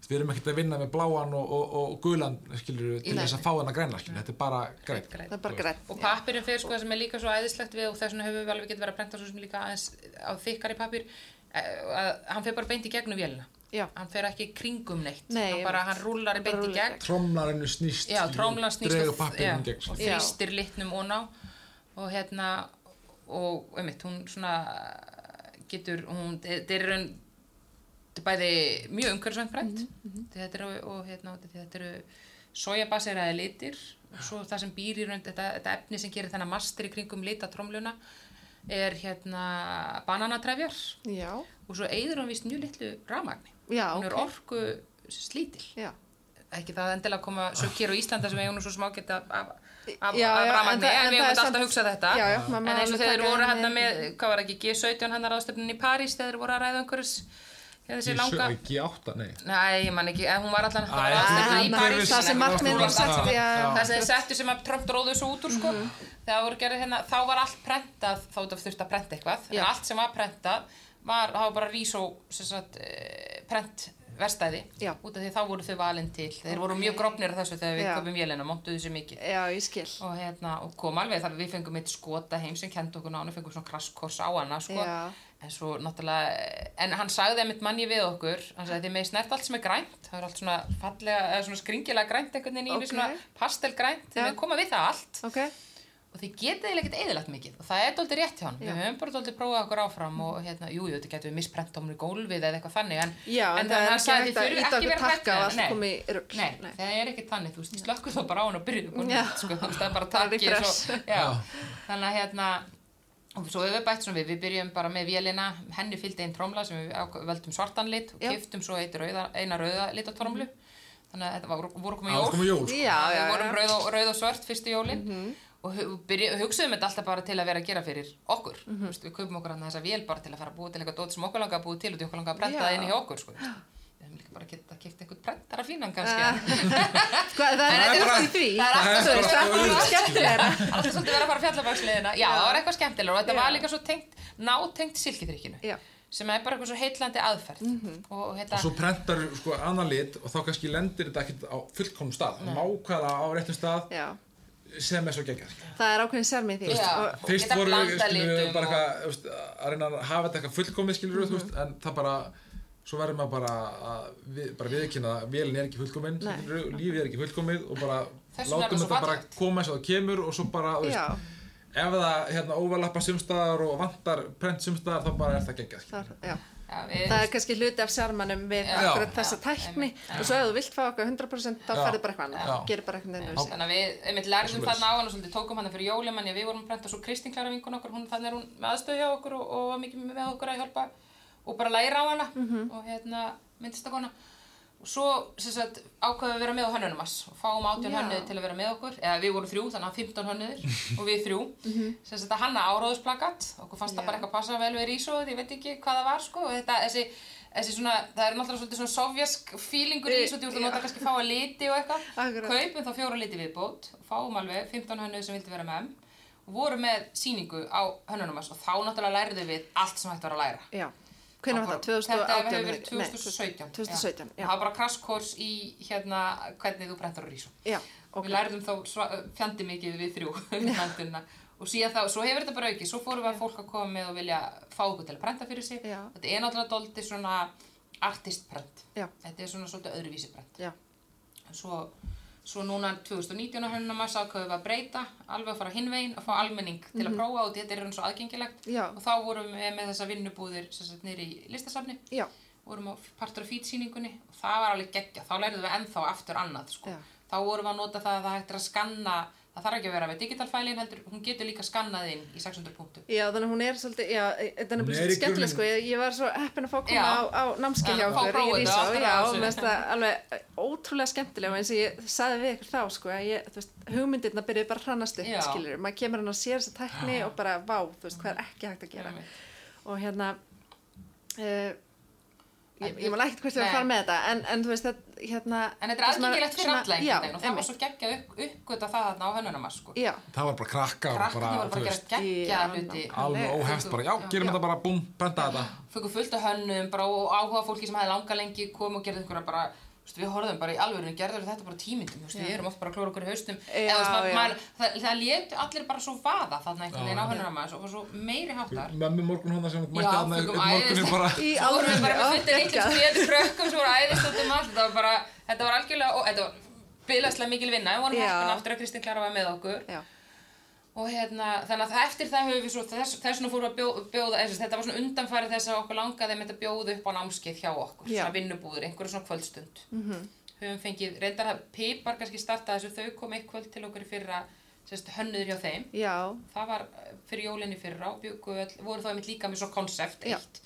C: við erum ekkert að vinna með bláan og, og, og gulan skilur til
B: Nei.
C: þess að fá hennar græna skilur þetta er bara græn
B: Græn.
A: Það er bara grætt.
B: og pappirinn fyrir sko það sem er líka svo æðislegt við og þess vegna höfum við alveg getið verið að prenta svo sem líka aðeins á þykkari pappir að hann fer bara beint í gegnum vélina
A: Já.
B: hann fer ekki í kringum neitt
A: Nei,
B: hann bara,
A: einmitt.
B: hann rúlar
A: Bara
B: beint í
A: rúllar í
B: gegn
C: tromlarinu snýst
B: já, trómlan snýst
C: dregur
B: og-
C: pappirinn gegn
B: og
C: skilur.
A: Já.
B: þrýstir litnum og ná og hérna og einmitt, hún svona getur, hún, þetta er í raun þetta er bæði mjög umhverfisvænt brænt
A: Mhm,
B: þetta eru, og hérna og þetta eru sojabaseraði litir og svo það sem býr í raun, þetta, þetta efni sem gerir þennan master í kringum litatrómluna er hérna bananatrefjar
A: Já,
B: og svo eyður hún vist mjög litlu rafmagni
A: já,
B: hún er
A: ok.
B: orku slítil
A: Já,
B: ekki það endilega að koma sökkir á Íslanda sem eigum nú svo smá geta af, af,
A: Já,
B: af
A: já, en
B: rafmagni
A: það-
B: en
A: en það
B: við eigum
A: er
B: alltaf
A: samt-
B: að hugsa þetta
A: já, já, maður má
B: en eins og
A: alveg
B: þeir
A: taka
B: voru
A: inn
B: hérna
A: í-
B: með, hvað var ekki, G17 hann ráðstöfnin í París þegar þeir voru að ræða einhverjus
C: Í
B: hérna þessi
C: sjö-
B: langa
C: ekki átta, nei
B: Nei, ég man ekki, en hún var allan það var
C: Æ,
B: ráðstefna
A: þarna-
B: í París
A: það sem
B: þannig að- um.
A: markmiðið var sett, já, já.
B: Það sem þeir settu sem að Trump dróðu svo út úr sko
A: Mhm.
B: þegar voru gerði hérna, þá var allt prentað þá þú þurfti að prenta eitthvað
A: Já.
B: en allt sem var prentað var, þá var bara risó sem sagt, eh, prent verstæði
A: Já.
B: út af því þá voru þau valin til þeir voru mjög grofnir af þessu þegar við
A: Já.
B: köpum vélina, móttuðu þessu mikið
A: já, ég skil.
B: og, hérna, og kom alveg þar við fengum eitt skota heim sem kendi okkur nánu, fengum svona krasskors á hana sko.
A: Já.
B: en svo náttúrulega en hann sagði einmitt manni við okkur hann sagði þið með snert allt sem er grænt það er allt svona fallega, eða svona skringilega grænt einhvern veginn í
A: Ok.
B: okay. svona pastelgrænt þið
A: Já.
B: með koma við það allt
A: Ok,
B: og þið getið eiginlega ekkert eðilagt mikið og það er dóldi rétt hjá hann,
A: Já.
B: við höfum bara dóldi prófað okkur áfram og hérna, jú, jú, þetta getum við misprenta um í gólfið eða eitthvað þannig en,
A: já, en, það er
B: hann
A: ekki hægt
B: sagði
A: að
B: þið þurfið
A: íta
B: ekki
A: okkur
B: vera hrædd
A: takka og
B: við hann."
A: allt
B: Nei.
A: komið í rugg.
B: Nei, það er ekki þannig, þú veist, slökkur þá bara á hann og byrjuðu konum,
A: Já.
B: sko, þú veist, það er bara
A: Bara
B: takkið
A: refresh.
B: svo, já, þannig að hérna, og svo höfum við bætt svona við, við byrjum bara með vélina, henni fylgdi einn trómla sem við ák- völdum svartan lit og
A: Já. Mhm.
B: kiftum svo eitt rauða, eina rauða lit á trómlu, þannig að þetta var, voru komið
C: það
B: jól,
C: var komið jól sko.
A: Já, já,
B: við vorum
A: já. Mhm.
B: rauð og, rauð og svört fyrstu jólin og hu- byrju, hugsuðum þetta alltaf bara til að vera að gera fyrir okkur
A: Mhm.
B: mm -hmm. við kaupum okkur hann þessa vél bara til að fara að búa til eitthvað dót sem okkur langar að búa til og til okkur langar að prenta það
A: Já.
B: inn í okkur sko. við hefum líka bara getað kipt einhvern prentara fínan kannski
A: Hvað, það
B: En
A: er
B: þetta er
A: ekkert í
C: bara-
A: því.
B: það er alltaf
A: Þú veist,
B: svo-
A: það er bara
C: auðvelt,
A: skemmtilegra.
B: alltaf svolítið verið að fara fjallabaksliðina já, það var eitthvað skemmtilega og þetta
A: Já.
B: var líka svo tengt nátengt silkiþrykkinu
A: Já.
B: sem er bara eitthvað svo heitlandi aðferð og, hérna, og heita,
C: og svo prentar sko annan lit og þá kannski lendir þetta ekkert á fullkomum stað nákvæða á réttum stað
A: Já,
C: sem er svo geggjað sko. skilur.
A: það er ákveðin sérmið því.
B: Já.
A: og-
B: og
C: fyrst
B: geta
C: voru
B: blandað
C: skilur,
B: litum
C: bara
B: og- Mhm.
C: eitthvað þú veist, að reyna að hafa þetta eitthvað fullkomið skilur mm veist, en það bara svo verður maður bara að við, bara viðkynna að vélin er ekki fullkomin
A: Nei.
C: skilur, lífið er ekki fullkomið og bara
B: Þess vegna er
C: látum
B: það svo
C: þetta bara
B: fallegt.
C: koma eins og það kemur og svo bara þú
A: Já,
C: veist, ef það hérna, óvalappa sumstaðar og vantar prent sumstaðar þá bara er það geggjað
A: það
C: skilur.
A: er, já.
B: já, við,
A: það er kannski hluti af sjarmanum við
B: Já.
A: akkurat
C: Já.
A: þessa
B: Já,
A: tækni
B: einmitt.
A: og svo ef þú vilt fá okkur 100% þá
C: Já.
A: færðu bara eitthvað
C: Já.
A: annað, gerir bara eitthvað
B: Já,
A: annað
B: Þannig að við, einmitt lærðum
C: Svoleiðis.
B: þarna á hann og svolítið tókum hann fyrir jólum en við vorum að prenta svo Kristín Klara vinkun okkur, hún, þannig er hún með aðstöðu hjá okkur og,
A: Mhm.
B: og var mikið með okkur að hjálpa og bara læra á hana og hérna myndist að kona og svo sem sagt, ákveðum við að vera með á hönnunum hans og fáum 18
A: Já.
B: hönnuðir til að vera með okkur eða við vorum þrjú, þannig að 15 hönnuðir og við þrjú sem sagt að hanna áróðusplakat okkur
A: Mhm. Já.
B: fannst það bara eitthvað passa vel við rísóð ég veit ekki hvað það var sko og þetta, þessi, þessi svona, það er náttúrulega svolítið svona sovjask fílingur í
A: Í-
B: rísóð, þú ert
A: já.
B: að nota kannski fáa liti og eitthvað
A: Akkurat.
B: kaupum þá fjóra liti viðbót fáum alveg 15 hönnuðir sem vildi vera með og vorum með sýningu á hönnunum hans og þá náttúrulega lærðum við allt sem hægt var að læra
A: Já, hvernig var það? 2018?
B: Þetta hefur verið
A: Nei,
B: 2017.
A: 2017, já.
B: Það var bara kraskors í hérna hvernig þú brentar á rísum.
A: Já,
B: Við lærðum þá sva- fjandi mikið við þrjú brentuna. Og síðan þá, svo hefur þetta bara aukið, svo fórum við að fólk að koma með og vilja fá okkur til að brenta fyrir sig.
A: Já.
B: Þetta er náttúrulega doldið svona artistbrent.
A: Já.
B: Þetta er svona svolítið öðruvísi brent
A: já,
B: svo, svo núna 2019 á hönnumars ákveðum við að breyta alveg að fara hinvegin að fá almenning til
A: Mhm.
B: að prófa og þetta er hann svo aðgengilegt
A: Já.
B: og þá vorum við með þessa vinnubúðir sem sagt nýri í listasafni
A: já,
B: vorum á partur af fýtsýningunni og það var alveg geggja, þá lærðum við ennþá aftur annað sko.
A: Já.
B: þá vorum við að nota það að það hægt er að skanna það þarf ekki að vera með digitalfælin heldur hún getur líka skannað inn í 600 punktum
A: já, þannig að hún er svolítið, já, e, þetta er
C: Hún
A: bara
C: er
A: svolítið
C: í
A: skemmtileg
C: grunninn.
A: sko, ég, ég var svo heppin að fá að
B: Já.
A: koma á, á námskeið
B: Já,
A: hjá
B: fá
A: okkur
B: prófið
A: í
B: þetta,
A: Rísá,
B: aftur
A: já,
B: aðeins.
A: mér finnst það alveg ótrúlega skemmtileg og eins og ég saði við ykkur þá sko, að ég, þú veist, hugmyndirna byrjuði bara að hrannast upp,
B: Já.
A: skilur, maður kemur hann og sér þessa tækni og bara, vá, þú veist, hvað er ekki hægt að gera og hérna uh, ég, ég man ekkert hvort ég var
B: Nei.
A: að fara með þetta en, en þú veist þetta hérna
B: en þetta er
A: það sem maður-
B: aðgengilegt fyrir
A: svona-
B: alla
A: já,
B: einhvern veginn og það var
A: einmitt.
B: svo geggja upp, uppgöta það þarna á hönnunumars sko.
A: já,
C: það var bara krakka og
B: krakkarnir voru bara
C: þú
B: að
C: veist,
B: gera geggja
A: Já,
B: hluti
C: alveg
A: Nei,
C: óheft bara, já,
B: já,
C: gerum
A: já.
C: þetta bara, búm, brenda þetta
B: fengur fullt af hönnum bara og áhuga fólki sem hefði langa lengi kom og gerði einhverja bara þú veist, við horfðum bara í alvöru gerður þetta bara tímyndum þú veist, við erum oft bara að klóra okkur í haustum
A: Já,
B: Eða, þú veist,
A: já.
B: maður, maður, það, það létu allir bara svo vaða þarna einhvern veginn
C: Já.
B: á hönnuna maður og var svo meiri háttar
C: Mömmu morgun hóna sem mætti
B: Já,
C: þarna
B: fengum
C: morgunni
B: æðislegt.
C: bara
A: í
B: Svo vorum við
A: alvörunni,
B: bara með fullt af
A: ó,
B: litlum
A: geggjað.
B: skriðandi krökkum sem voru æðist út um allt þetta var bara, þetta var algjörlega og þetta var bilagslega mikil vinna við vorum
A: Já.
B: hægt aftur að Kristinn Klara var með okkur
A: já,
B: og hérna, þannig að það- eftir það höfum við svo þess, þess vegna fórum við að bjóða, bjóða þess, þetta var svona undanfæri þess að okkur langaði með þetta bjóða upp á námskeið hjá
A: Já.
B: okkur,
A: Mhm.
B: svona vinnubúður, einhverju svona kvöldstund -hmm. höfum fengið, reyndar að Pipar kannski startaði þessu, þau kom eitt kvöld til okkur í fyrra, sérst, hönnuður hjá þeim
A: já,
B: það var eh, fyrir jólinni fyrra og bjúku öll, voru þá einmitt líka með svo konsept
A: Já.
B: eitt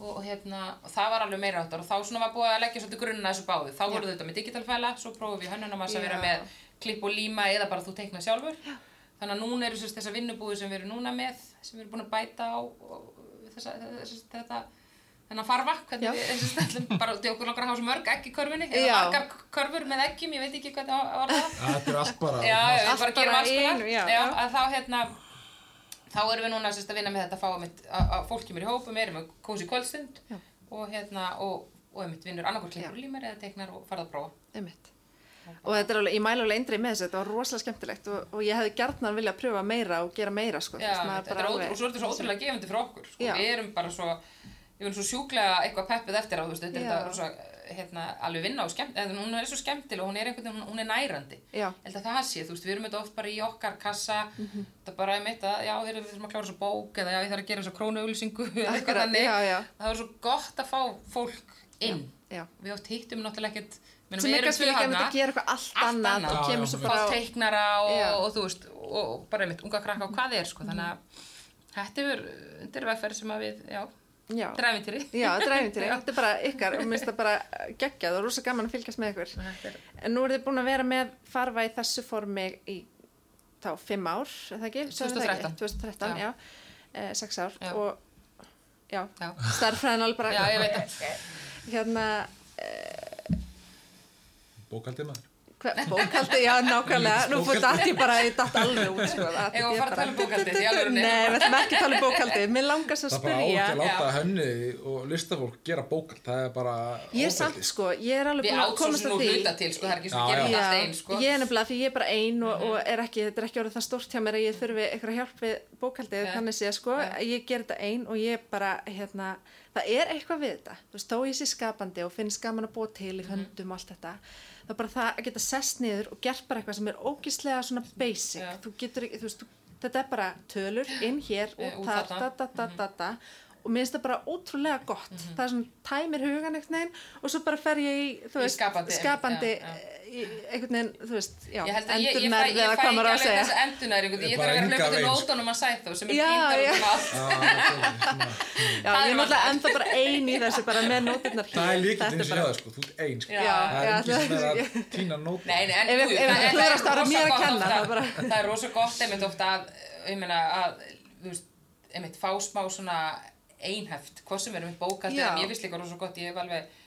B: og, og hérna, og það var alveg meira áttar og þá svona var búið að leggja svolítið grunna þessu báðu þá voru þetta með digitalfæla, svo prófum við hönnunum að
A: Já.
B: vera með klipp og líma eða bara þú teikna sjálfur Já. þannig að núna eru sérst þessar vinnubúðu sem við erum núna með sem við erum búin að bæta á og, þessa, þessa, þetta þennan farva,
A: Já.
B: hvernig við þessum stællum bara til okkur langar að hafa svo mörg egg í körfunni eða
A: Já.
B: margar körfur með eggjum, ég veit ekki hvað það var það
C: Þetta er allt bara
B: já, já,
A: Allt
B: við bara gerum
A: bara
B: alls
A: í
B: konar
A: einu,
B: já,
A: já, já.
B: að þá hérna þá erum við núna sérst að vinna með þetta að fá einmitt að, að fólk kemur í hópum, erum við kósi kvöldstund
A: Já.
B: og hérna og, og einmitt vinnur annarkur klippur
A: Já.
B: límar eða teiknar og farða að prófa
A: einmitt og þetta er alveg, ég mæla alveg eindrið með þessu þetta var rosalega skemmtilegt og, og ég hefði gjarnan viljað pröfa meira og gera meira sko þú
B: já,
A: veist, maður
B: þetta
A: bara
B: er ótrú,
A: alveg-
B: og svo er þetta svo ótrúlega gefandi fyrir okkur sko.
A: Já.
B: við erum bara svo við erum svo sjúklega eitthvað peppið eftir á þú veist, þetta er
A: Já.
B: þetta rosa hérna, alveg vinna og skemmt eða hún er svo skemmtileg og hún er einhvern veginn, hún- hún er nærandi
A: Já. Mhm.
B: Ég held að það sé, þú veist, við erum þetta oft bara í okkar kassa þetta er bara um eitt að, já, heyrðu, við þurfum að klára svo bók eða já, ég þarf að gera svo krónuauðlýsingu eða eitthvað
A: Akkurat,
B: þannig
A: já, já.
B: það var svo gott að fá fólk inn
A: já.
B: við átt hittum náttúrulega ekkert ég meina,
A: sem
B: við
A: er
B: erum
A: kannski
B: tvö
A: líka
B: þarna
A: að mynda að gera eitthvað allt,
B: Allt
A: annað
B: annað.
A: og
C: Já,
A: kemur
C: já,
A: svo
C: já.
A: bara
B: fá
A: á
B: teiknara og,
A: Já.
B: og þú veist og, og bara einmitt unga krakka og hvað er sko þannig að þetta er, þetta er vegferð sem að við, já,
A: Mhm. já,
B: dræfin til því
A: já, dræfintýri, þetta er bara ykkar og minnst það bara geggjað og rosa gaman að fylgjast með ykkur
B: þetta er
A: En nú eru þið búin að vera með farfa í þessu formi í þá fimm ár, er það ekki? Sögðu það ekki?
B: 2013.
A: 2013,
B: Já.
A: já. Eh, sex ár
B: Já.
A: og já,
B: Já.
A: starffræðin alveg bara
B: Já, ég veit það.
A: hérna
C: Bókaldið maður
A: hva, bókaldi, já, nákvæmlega nú fór datt ég bara, ég datt alveg út sko, datt
B: Eigum við að fara að tala um bókhaldið í alvörunni?
A: Nei, við ætlum ekki að tala um bókaldi Mér langar svo að
C: Það er bara á
A: spyrja
C: ekki að láta
B: Já.
C: henni og listafólk gera bókald Það er bara
A: Ég er
C: ofbeldi.
A: samt sko, ég er alveg
B: við
A: búin að komast
B: átsóðum
A: að
B: nú
A: því
B: hluta til sko, það er ekki svo
C: Já,
B: að gera
C: já.
B: þetta allt einn sko Mhm.
A: ég er nefnilega því ég er bara ein og, og er ekki, þetta er ekki orðið það stórt hjá mér að ég þurfi eitthvað hjálp við bókaldið
B: Nei.
A: þannig sé sko,
B: Nei.
A: ég ger þetta ein og ég bara, hérna, það er eitthvað við þetta, þú veist, þó ég sé skapandi og finnst gaman að búa til í
B: Mhm.
A: höndum og allt þetta þá bara það að geta sest niður og gert bara eitthvað sem er ógislega svona basic,
B: Já.
A: þú getur ekki, þú veist, þú, þetta er bara tölur inn hér
B: Eh,
A: og
B: út
A: þar,
B: þarna.
A: da, da, da, da, da og mér finnst það bara ótrúlega
B: Mhm.
A: gott það er svona tæmir hugan eitthvað neginn og svo bara fer ég í, þú
B: Í
A: veist,
B: skapandi,
A: skapandi
B: já, já.
A: eh, í- einhvern veginn, þú veist, já,
B: Ég held að ég, ég, fæ,
A: endurnærð eða
B: ég fæ
A: hvað
B: ekki
A: maður á að
B: alveg
A: segja.
B: þessa endunar ég
C: Bara
B: þarf að vera að
C: enga
B: hlaupa til
C: eins.
B: nótunum að sæþó sem er
A: Já,
B: píntar
A: já.
B: út um allt
C: Já, þetta er svona-
A: Já, ég
B: Það er
A: er náttúrulega enda bara ein í þessu, bara með nótirnar hér.
C: Það er líka
A: Þetta
C: til þess að
A: bara-
C: jáða sko, þú ert einn sko.
B: Já.
A: Já,
C: Það er
A: já,
C: engin sem er
A: það-
C: að týna nót.
B: Nei, nei, en
A: Ef-
B: jú,
A: ef- ef-
B: er-
A: þú verðast að vera
B: rosa
A: mér að
B: gott
A: kenna,
B: oft
A: það bara-
B: Það er rosa gott einmitt ofta að, ég meina að, þú veist, einmitt fá smá svona einhæft, hvað sem er einmitt bókald
A: Já.
B: eða mér finnst líka rosa gott, ég hef alveg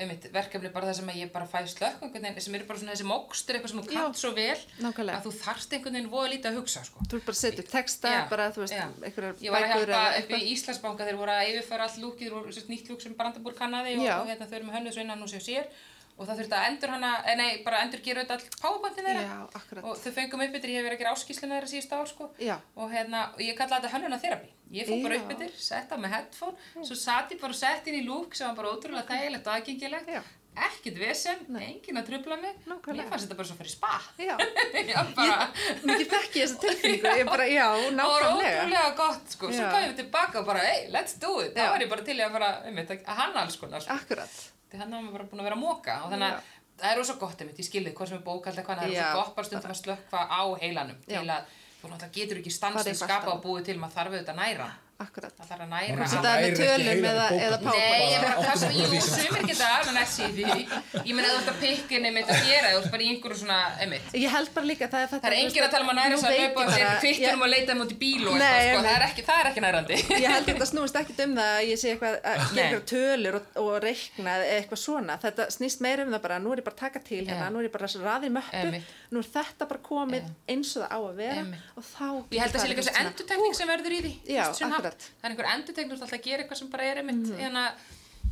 B: einmitt verkefni bara það sem að ég bara fæ slökk einhvern veginn, sem eru bara svona þessi mókstur eitthvað sem þú kannt svo vel
A: nákvæmlega.
B: að þú þarft einhvern veginn voða lítið að hugsa sko.
A: Þú ert bara að setja upp texta,
B: Já,
A: bara, þú veist,
B: já.
A: einhverjar
B: Ég var að
A: bækur
B: hjálpa
A: eða
B: upp í Íslandsbanka, þeir voru að yfirfara allt lúkið, þeir voru sérst nýtt lúk sem Brandaburg kannaði og,
A: Já.
B: og hérna, þau eru með hönnu svo innan hús hjá sér og það þurfti að endur hana, eh, nei, bara endur gera auðvitað all powerpointin þeirra
A: Já, akkurat.
B: og þau fengum upp yfir, ég hef verið að gera áskýslina þeirra síðust ár sko
A: Já.
B: og hérna, og ég kallaði þetta hönnuna þerapi ég fór bara
A: Já.
B: upp yfir, setta með headphone svo satt ég bara og sett inn í lúk sem var bara ótrúlega þægilegt og aðgengilegt
A: Já.
B: ekkert vesen, enginn að trubla mig
A: Nákvæmlega.
B: mér fannst þetta bara svo fyrir spa
A: Já,
B: ég bara,
A: mikið þekki ég þessa tilfinningu, ég bara, já,
B: það var
A: nákvæmlega.
B: ótrúlega gott sko, svo
A: Já.
B: kom ég tilbaka og bara, hey, let's do it
A: Já. Ah.
B: þá var ég bara til í að fara, einmitt, að hanna alls konar sko.
A: Akkurat,
B: því hann hafði bara búin að vera að móka og þannig að það er rosa gott einmitt, ég skilði hvað sem er bókald eitthvað, það er
A: Já,
B: rosa gott bara stundum að slökka á heilanum til
A: Já.
B: að þú náttúrulega getur ekki
A: Farið
B: stansið
A: eitthvað
B: skapa
A: annað.
B: og búið til maður þarf auðvitað að næra
A: akkurat.
B: það þarf að
C: Hún
B: næra
C: er
A: Setja það
B: að-
A: með
C: ærir ekki
A: tölum
C: heilan í
A: eða- eða
C: bókhaldi.
A: PowerPoint.
B: Nei, ég er bara
C: Bara
B: hvað sem,
C: áttum
B: jú,
C: okkur á því.
B: sumir geta alveg næst í því Ég meina þú ert að pikkinni mitt að gera, þú ert bara í einhverju svona, einmitt
A: Ég held bara líka að það er þetta...
B: Það er
A: þú
B: enginn
A: veist
B: að tala um að næra
A: nú
B: þess að
A: veit ég
B: hlaupa og setja
A: bara-
B: kvittunum og leita um út í bíl og
A: Nei,
B: eitthvað, sko,
A: einmitt.
B: það er ekki, það er ekki nærandi.
A: Ég held að þetta snúist ekkit um það að ég sé eitthvað að gera
B: Nei.
A: eitthvað tölur og, og reikna eða eitthvað svona. Þetta snýst meira um það bara, nú er ég bara að taka til hérna,
B: Já.
A: nú er ég bara að raði möppu,
B: Einmitt.
A: nú er þetta bara komið eins og það á að vera
B: Einmitt.
A: og þá...
B: Ég held að það sé líka þessi
A: svona-
B: endutekning sem verður í því.
A: Já,
B: þú veist, svona hátt.
A: akkurat.
B: Það er einhver endutekning, þú ert alltaf að gera eitthvað sem bara er einmitt, mm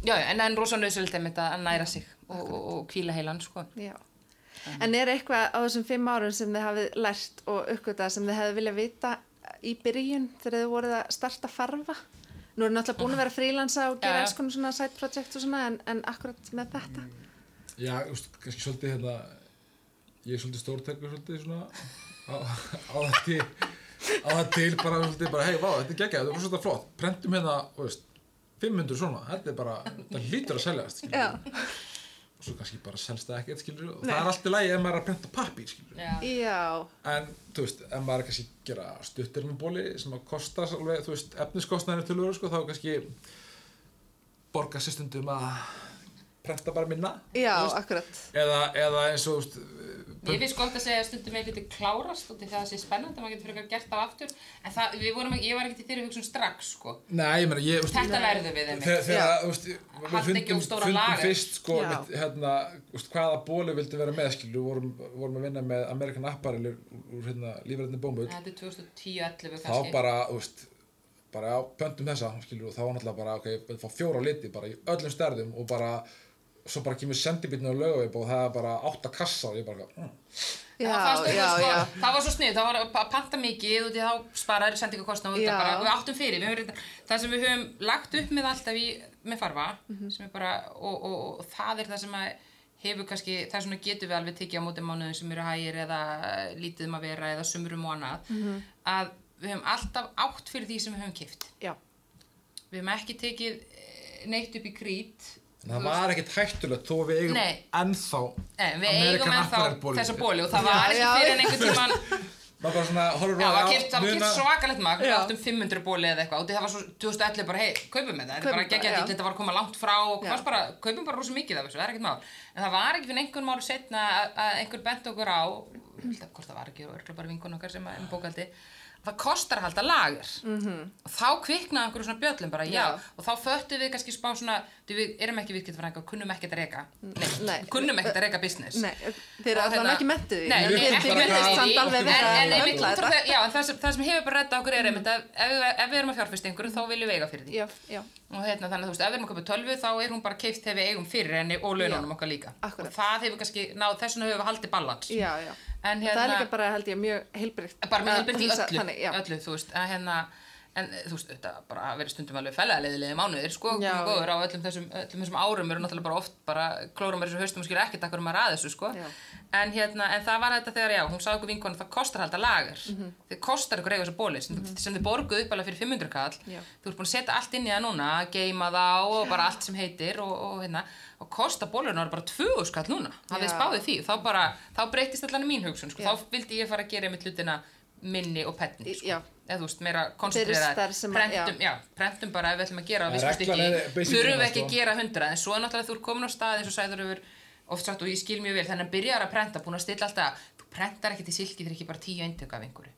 B: já, já, en, en rosa nöðsöld einmitt að að næra sig og, og, og kvíla heilan, sko.
A: Já. En er eitthvað á þessum fimm árum sem þið hafið lært og uppgötað sem þið hefði viljað vita í byrjun þegar þið voruð að starta farfa? Nú erum náttúrulega búin að vera frílansa og
B: Já, já.
A: gera alls konar svona side project og svona en, en akkurat með þetta?
C: Já, þú veist, kannski svolítið hérna, ég er svolítið stórtækur svolítið svona á, á það til, á það til bara svolítið bara, hei, vá, þetta er geggjað, þetta er svolítið flott, prentum hérna, þú veist, 500 svona, þetta er bara, þetta hlýtur að seljast, skilur.
A: Já,
C: Og svo kannski bara selst það ekkert, skilur, og það er allt í lagi ef maður er að prenta pappír, skilur.
B: Já,
A: já,
C: En, þú veist, ef maður er kannski að gera stuttir með bóli sem að kosta alveg, þú veist, efniskostnaðinu til sko, þá kannski borga sér stundum að prenta bara minna.
A: já,
C: þú veist.
A: akkurat.
C: Eða, eða eins og, þú veist,
B: Mér finnst gott að segja að stundum eitthvað til klárast og til það sé spennandi að maður getur frekar gert það aftur en það, við vorum ekki, ég var ekki til þeirri hugsun strax, sko.
C: Nei, ég meina, ég, úst,
B: Þetta lærðu við einmitt.
C: þegar, þegar, þú veist, við
B: Halda ekki
C: fundum,
B: of um stóra
C: fundum
B: lager.
C: fyrst, sko,
A: Já.
C: mitt, hérna, úst, hvaða bólu vildi vera með, skilju, vorum, vorum að vinna með Amerikan Apparel úr, úr hérna, lífræðinni bómull,
B: Þetta er 2010-11
C: þá
B: kannski.
C: bara, úst, bara, já, pöntum þessa, skilju, og þá var náttúrulega bara, ok, við fá fjóra liti, bara í öllum stærðum og bara, svo bara kemur sendibitni á lögaveip og það er bara átta kassar, og ég bara, mm.
A: Já,
B: það, fannst
A: já,
B: okkur sko,
A: já.
B: það var svo snið, það var að pa- panta mikið og því þá sparaður sendingakostna og þetta
A: Já.
B: bara, við áttum fyrir, við höfum, reynda- það sem við höfum lagt upp með alltaf í, með farfa
A: Mhm.
B: sem er bara, og, og, og, það er það sem að hefur kannski, það er svona getum við alveg tekið á móti mánuðum sem eru hægir eða lítið um að vera eða sumrum og annað
A: Mhm.
B: að við höfum alltaf átt fyrir því sem við höfum kift
A: Já,
B: við höfum ekki tekið eh, neitt upp í krít
C: En það var ekkert hættulegt þó við eigum
B: Nei.
C: ennþá
B: Nei, Eh, við eigum ennþá
C: bólu.
B: þessa bóli og það var ekki
A: Já, já.
B: fyrir en einhvern tímann
C: Maður bara svona horfir
B: Já,
C: bara á-
B: það var kýrt, það var
C: muna-
B: kýrt svakalegt magn, um við
A: Já.
B: áttum 500 bóli eða eitthvað og það var svo 2011 bara, hei, kaupum þetta, þetta er
A: Kaupum
B: bara
A: þetta,
B: geggjað
A: já.
B: dýll, þetta var að koma langt frá og
A: Já.
B: fannst bara, kaupum bara rosa mikið af þessu, það er ekkert mál. En það var ekki fyrir einhvern máru setna að- að einhver bent okkur á, ég held að hvort það var ekki, og örgulega bara vinkun okkar sem að um bókaldi, það kostar að halda lager. -hmm. Og þá kviknaði einhverju svona bjöllum bara, já,
A: Mhm. Já.
B: og þá föttu við kannski spá svona, því við erum ekki viðskiptafræðingar, kunnum ekkert að reka,
A: nei.
B: kunnum ekkert að reka business.
A: Nei, þeir eru
B: Og
A: allan
B: hérna-
A: ekki mentið því.
B: Nei,
C: Við
B: nei,
A: Þeir-
C: erum
A: þeir
B: ekki
C: bara
B: mentið
A: virðist
B: því.
C: að-
A: samt alveg
B: En-
A: vera
B: en
A: að
B: einmitt
A: höndla
B: út frá
A: þetta.
B: þau- Já, en það sem, það sem hefur bara reddað okkur er einmitt að ef, við- ef við erum að fjárfesta í einhverju þá viljum við eiga fyrir því
A: Já, já,
B: og hérna þannig að þú veist, ef við erum að kaupa tölvu þá er hún bara keift þegar við eigum fyrir henni og launanum okkar líka
A: Akkúrat.
B: og það hefur kannski, ná, þess vegna höfum við haldið ballans
A: já, já.
B: en
A: Það er
B: hérna,
A: líka bara, held ég, mjög heilbrygt.
B: bara með helbyrði í öllu,
A: Ah, Þannig, já.
B: öllu, þú veist, að hérna en eh, þú veist, þetta bara verið stundum alveg fælaðilegðilegði mánuðir, sko,
A: Já,
B: komið góður á öllum þessum, öllum þessum árum eru náttúrulega bara oft bara klóra mér þessu haustum og skilja ekkert akkur um að ræða þessu, sko
A: Já.
B: en hérna, en það var þetta þegar, já, hún sagði okkur vinkonu, það kostar að halda lager
A: Mhm.
B: þið kostar ykkur eiga þessu bóli sem, sem þið borguðu upp alveg fyrir 500 kall
A: Já.
B: þú ert búin að setja allt inn í það núna, geima það og bara allt sem heitir og, og hérna og kosta bólurinn bara 2000 skall núna það við
A: Já.
B: spáði því, þá bara, þá breytist allan í mín hugsun, sko,
A: Já.
B: þá vildi ég fara að gera mitt hlutina minni og petni,
A: Í-
B: sko
A: já.
B: eða þú veist, meira koncentrera
A: starf sem að- já.
B: prentum, já, prentum bara ef við ætlum að gera
C: Já,
B: visspust
C: reglan er
B: ekki,
C: basically
B: þurfum við
C: það,
B: ekki
C: sko.
B: að gera hundra en svo er náttúrulega þú ert komin á stað eins og sæður yfir oft sagt og ég skil mjög vel þannig að byrjar að prenta, búin að stilla alltaf þú prentar ekki til silki þegar ekki bara tíu eintöku af einhverju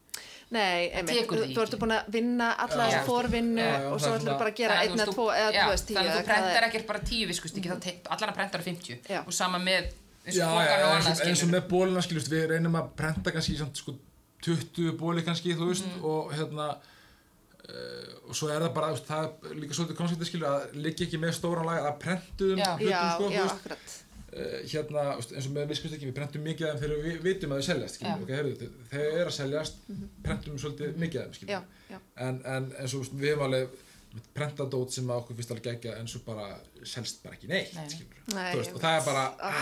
A: Nei, einmitt,
B: tekur
A: þú,
B: því
A: þú ertu
B: ekki.
A: búin að vinna alla
B: Já.
A: þessa forvinnu
C: Já, já,
A: og
C: það
A: svo
C: er
A: ætlum
C: svona-
A: bara að gera
B: Þannig að
A: einn eða
B: þú-
A: tvo eða
B: já,
A: þú veist tíu
B: þannig að
A: eða hvað
B: þú
A: það er.
B: prentar
A: Mhm.
B: ekkert bara tíu viskust ekki, mm. allan að prentar 50
A: Já.
B: og sama með eins
C: Já, já,
B: og pokan og
C: eins
B: annað
C: og- eins og
B: skilur
C: með bólina skiljust, við reynum að prenta kannski samt, sko, 20 bóli kannski, þú veist,
B: Mhm.
C: og hérna uh, og svo er það bara, þú veist, það er líka svolítið konceptið skilju að liggja ekki með stóran lag að prentuðum
B: Já.
C: hlutum, sko,
A: Já,
C: þú
A: já,
C: veist,
A: akkurat.
C: uh, hérna, þú veist, eins og með viskust ekki, við prentum mikið af þeim þegar við vitum að þau seljast,
B: Já.
C: skiljum, ok, heyrðu, þau- þau eru að seljast,
A: Mhm.
C: prentum svolítið mikið af þeim,
A: Já,
C: skiljum,
A: já.
C: en, en eins og þú veist, við hefum alveg prentað dót sem að okkur finnst alveg gegja en svo bara selst bara ekki neitt
B: Nei.
C: skilur,
A: Nei,
C: veist,
A: ég
C: og það er
A: veit.
C: bara
A: Ah.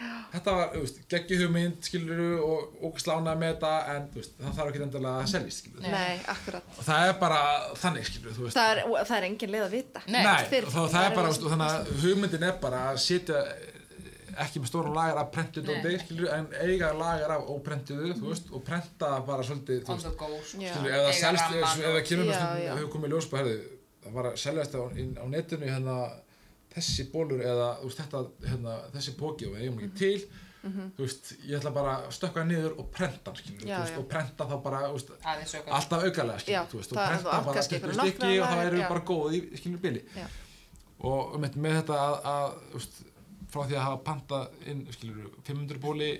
C: ah, þetta var, þú veist, geggjuhugmynd skilur og okkur slánað með þetta en þú veist, það þarf ekki endilega að seljast skilur
A: Nei, akkurat.
C: og það er bara þannig skilur, þú veist
A: Það er, og það er engin leið að vita.
B: Nei.
C: Nei,
A: Fyrir-
C: og þá, það er bara, veist, og þannig að hugmyndin er bara að sitja eh, ekki með stóran lagar af prentuð og
B: Nei.
C: deg, skilur, en eiga lagar af óprentuðu, þú veist, og prenta bara svolítið, þú
B: on
C: veist,
B: the go sko.
A: Já.
C: skilur, ef það
B: Eiga
C: selst,
B: rammann
C: ef ef það kemur með
A: Já,
C: stundum,
A: já.
C: ef við komum í ljós bara, herðu, það var að seljast á, inn, á netinu, hérna, þessi bólur eða, þú veist, þetta, hérna, þessi póki og við
A: Mhm.
C: eigum ekki til, þú veist, ég ætla bara að stökka hann niður og prenta, hann, skilur,
A: Já,
C: þú veist,
A: já.
C: og prenta þá bara, þú veist,
B: aðeins auka
C: alltaf aukalega, skilur,
A: Já,
C: þú veist, og
A: það- þú
C: prenta
A: átt
C: bara
A: kannski
C: 20
A: einhverja
C: stykki
A: nokkra
C: og þá
A: lagar,
C: erum
A: já.
C: við bara góð í, skilur, bili
A: Já.
C: og með, með þetta að, að úst, frá því að hafa panta inn skilur, 500 bóli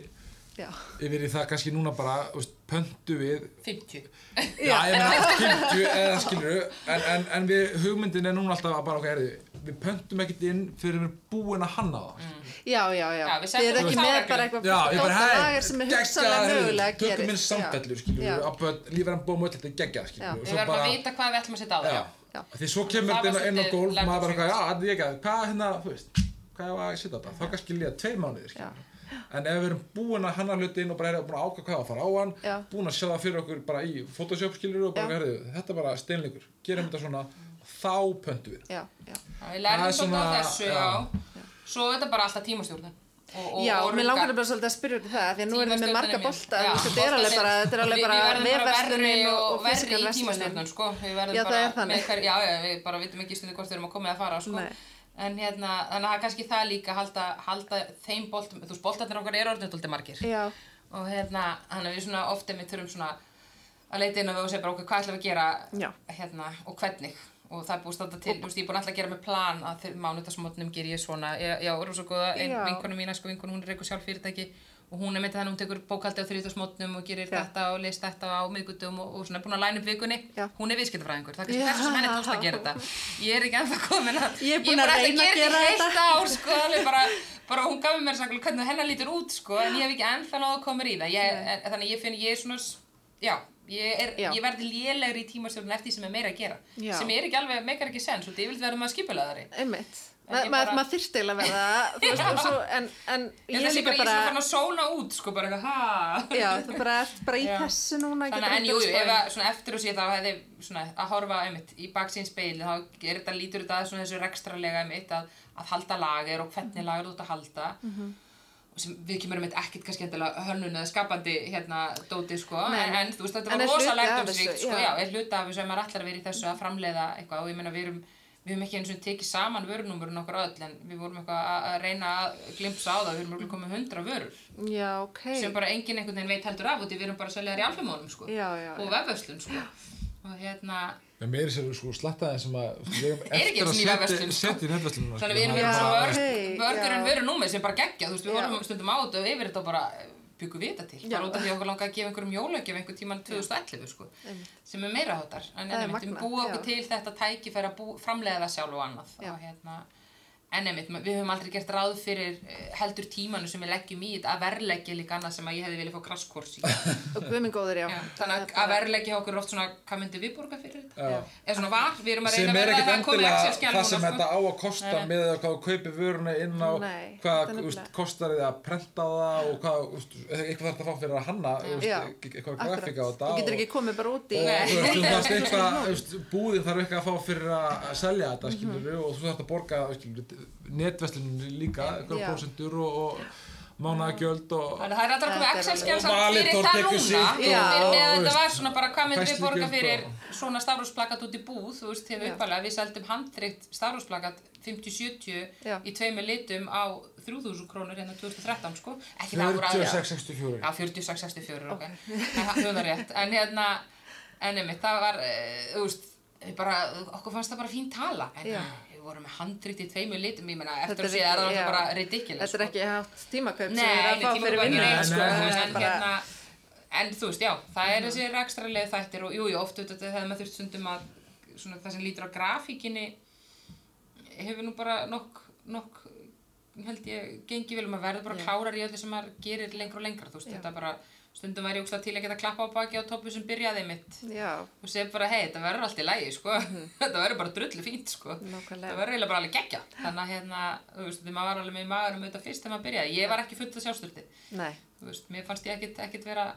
A: Já.
C: yfir í það kannski núna bara úst, pöntu við
B: 50
C: já, ég meina 50 eða skilur en, en, en við hugmyndin er núna alltaf að bara okkar erði við pöntum ekkert inn fyrir við erum búin að hanna það mm.
A: Já, já, já.
B: Já, við
A: Þið eru
B: settum
A: ekki
B: það
A: með
B: reglu.
A: bara eitthvað
C: já, ég bara
A: dóttar
C: hei,
A: lagar sem er hugsanlega mögulega gerist.
C: tökum inn samfellur skilur
A: Já.
C: við, að börn, lífæran bóðum öll þetta er geggjað skilur
A: Já.
C: og
B: við
C: svo
B: verðum að vita hvað við ætlum að setja á það
C: já.
B: já.
A: Já.
C: Því svo kemur
B: Það var
C: þetta inn á
B: svolítið
C: gólf maður bara,
B: lærdómsríkt.
C: eitthvað, já, þetta er ekki að, hvað hérna, þú veist hvað var að setja þetta, þá kannski líða tveir mánuðir
A: Já.
C: skilur. en ef við erum búin að hanna hluti inn og bara erum búin að ákvæða hvað á að fara á hann
A: Já.
C: búin að sjá það fyrir okkur bara í Photoshop skilur og bara,
A: Já.
C: herðu, þetta er bara steinleikur gerum þetta svona, þá pöntu við
A: Já, já.
B: Já,
C: Það
B: Við lærðum
C: er
B: svolítið á
C: svona-
B: þessu, já. Svo er þetta bara alltaf tímastjórnum. Og, og,
A: Já,
B: og
A: mér
B: rugga.
A: langar bara svolítið að spyrja út í það, því að nú erum við með marga
B: Tímastjórnin mín.
A: bolta,
B: Já,
A: þú veist, þetta er alveg bara, þetta er alveg
B: Við-
A: bara
B: við verðum bara verri
A: vefverslunin og,
B: og
A: og
B: verri í
A: fysikalverslunin.
B: tímastjórnum, sko. Við verðum
A: Já, það
B: bara
A: er þannig.
B: með Hver, já, já, við bara vitum ekki stundu hvort við erum að koma eða fara, sko.
A: Nei.
B: En hérna, þannig að það er kannski það líka að halda, halda þeim boltum, þú veist, boltarnir okkar eru orðinu dóldi margir.
A: Já,
B: Og hérna, þannig að við svona oft emitt þurfum svona að leita inn á við og segja bara, ok, hvað ætlum við að gera,
A: Já.
B: hérna, og hvernig? Og það er búið að standa til, þú veist, ég er búin alltaf að gera með plan að þegar mánudagsmótnum ger ég svona, ég, já, rosa góða, ein,
A: Já.
B: vinkonu mína, sko, vinkonu, hún er eitthvað sjálf fyrirtæki og hún er myndið þannig, hún tekur bókaldi á þriðdagsmótnum og gerir
A: Já.
B: þetta og leist þetta á miðgutum og, og svona, búin að læna upp vikunni,
A: Já.
B: hún er viðskiptafræðingur, það er
A: Já.
B: kannski þess að henni tókst að gera þetta, ég er ekki ennþá komin að,
A: Ég er búin að
B: bara ætla
A: reyna að
B: gera
A: gera
B: þetta í
A: þetta.
B: heilt ár sko, alveg bara, bara hún gaf mér sagði, hvernig hennar lítur út sko, en ég hef ekki ennþá náðu að koma mér í það ég, en, þannig að ég finn, ég er svona s- já, ég, er,
A: Já.
B: ég verði lélegri í tímastjórn eftir því sem er meira að gera
A: Já.
B: sem er ekki alveg, meikar ekki sens og yfirleitt verður maður skipulaðari
A: einmitt.
B: En
A: Ma-
B: ég
A: Maður
B: bara-
A: maður þyrfti eiginlega að verða, þú veist, og svo, en, en
B: ég
A: ég
B: þessi
A: líka
B: bara, ég er
A: bara,
B: svona fann að sóna út sko, bara eitthvað, ha
A: já, þú bara ert bara í
B: Já.
A: þessu núna,
B: þannig að en
A: ekkert
B: jú, jú,
A: sko-
B: ef að, svona, eftir og síðan þá hefði svona, að horfa einmitt í baksín speil þá er þetta, lítur þetta að svona þessu rekstralega einmitt að, að halda lager og
A: Mhm.
B: hvernig lager þú ert að halda og sem við kemur einmitt ekkit kannski endilega hönnun eða skapandi hérna dóti sko
A: Nei,
B: en,
A: nei.
B: en þú veist þetta
A: En er
B: var
A: hluti
B: rosa
A: af
B: lærdumsríkt
A: þessu,
B: sko,
A: já.
B: já, er hluti af þessu ef maður ætlar að vera í þessu að framleiða eitthvað og ég meina við erum við höfum ekki eins og tekið saman vörunúmurinn okkar öll en við vorum eitthvað að- að reyna að glimpsa á það, við erum
A: Mhm.
B: okkur komið hundra vörur
A: Já, ok.
B: sem bara enginn einhvern veginn veit heldur af og því við erum bara að selja þær í alfamónum sko
A: Já, já,
B: og
A: já.
B: vefverslun sko og hérna
C: en meiri sér sko slattaðin sem að við eigum
B: Er ekki
C: eftir
B: einu
C: að setja-
B: sinni í vefverslun, sko.
C: setja í netverslunum
B: þannig að við erum hérna
A: Já,
B: verið svona vörg,
A: ok,
B: vörgur en
A: já.
B: veru númer sem bara geggja þú veist við
A: Já.
B: horfum stundum á þetta og yfir þetta og bara eh, byggum við þetta til
A: Já.
B: bara út af því að okkur langa að gefa einhverjum jólagjöf einhver tíman 2011 sko sem er meira hátar en
A: Það er
B: en við
A: magnað,
B: búa okkur
A: já.
B: til þetta tækifæri að bú, framlega það sjálf og annað
A: Já.
B: og hérna en einmitt, ma- við höfum aldrei gert ráð fyrir eh, heldur tímanu sem við leggjum í þetta að verleggja líka annað sem að ég hefði viljað fá krasskors í Já,
A: og guðminn góður, já.
B: þannig að, að verleggja hjá okkur er oft svona hvað myndi við borga fyrir þetta
C: Já.
B: eða svona var, við erum að reyna
C: sem
B: að
C: er
B: verða
C: ekkert
B: það komið
C: endilega
B: Excel-skjal
C: það sem
B: núna, sko.
C: þetta á að kosta með að hvað þú kaupir vöruna inn á
A: Nei, þetta
C: hvað
A: er
C: þú veist,
A: nefnilega.
C: kostar þið að prenta það og hvað, þú veist, eitthvað þarf að fá fyrir að hanna þú veist,
A: Já,
C: eitthvað
A: akkurat.
C: grafika á þetta
A: Þú getur
C: og-
A: ekki komið bara út í...
C: og
B: Nei.
C: þú veist, þú þarfst eitthvað, þú veist, búðin þarf eitthvað að fá fyrir að selja
A: Mhm.
C: þetta skilur og þú þarfst að borga netveslinu líka, eitthvað
A: Já.
C: prósendur og, og mánagjöld og
B: Þannig að það er alltaf
A: Þetta
B: komið
A: er
B: Excel-skjal
C: alveg-
B: samt
C: Og
B: fyrir
C: Valitor
B: það
C: tekur
B: núna
C: sitt
A: og-
B: fyrir
A: og-
B: með
C: og
B: þetta
C: veist,
B: var svona bara hvað myndum við
C: færslu
B: borga
C: gjöld
B: fyrir
C: og-
B: svona stafrósplakat út í búð þú veist, hefur uppalega, við seldum handreikt stafrósplakat 50-70
A: Já.
B: í tveimur litum á 3000 krónur hérna 2013 sko, ekki það voru aðra
C: 4664
B: Já, 46-64 ok, En það höfðar rétt en hérna, en einmitt, það var eh, þú veist, við bara, okkur fannst það bara fín tala en
A: Já.
B: við vorum með handreikt í tveimur litum ég meina,
A: Þetta
B: eftir
A: er
B: að segja það er
A: ekki-
B: það bara
A: já.
B: ridiculous
A: Þetta er
B: sko.
A: ekki hátt tímakaup sem við
B: Nei,
A: erum að fá fyrir
B: vinnu
A: vinnuna.
C: Nei,
B: sko,
C: nei, nei,
B: þú veist,
A: það
B: en,
A: er bara- Mhm.
B: hérna, en þú veist, já, það er þessi rekstrarlega þættir og jú, jú, oft auðvitað þegar maður þurft stundum að svona, það sem lítur á grafíkinni hefur nú bara nokk, nokk held ég, gengið vel og maður verður bara
A: Já.
B: klárar í öllu sem maður gerir lengra og lengra þú veist,
A: Já.
B: þetta bara, stundum var ég ógslag til að geta klappa á baki á toppu sem byrjaði mitt
A: Já,
B: og segja bara, hei, þetta verður allt í lægi, sko þetta verður bara drullu fínt, sko
A: Mhm. Nákvæmlega.
B: það verður eiginlega bara alveg geggja þannig að, hérna, þú veist, því maður var alveg með maður um auðvitað fyrst þegar maður byrjaði, ég var ekki fullt af sjálfstöldi
A: nei.
B: þú veist, mér fannst ég ekkit, ekkit vera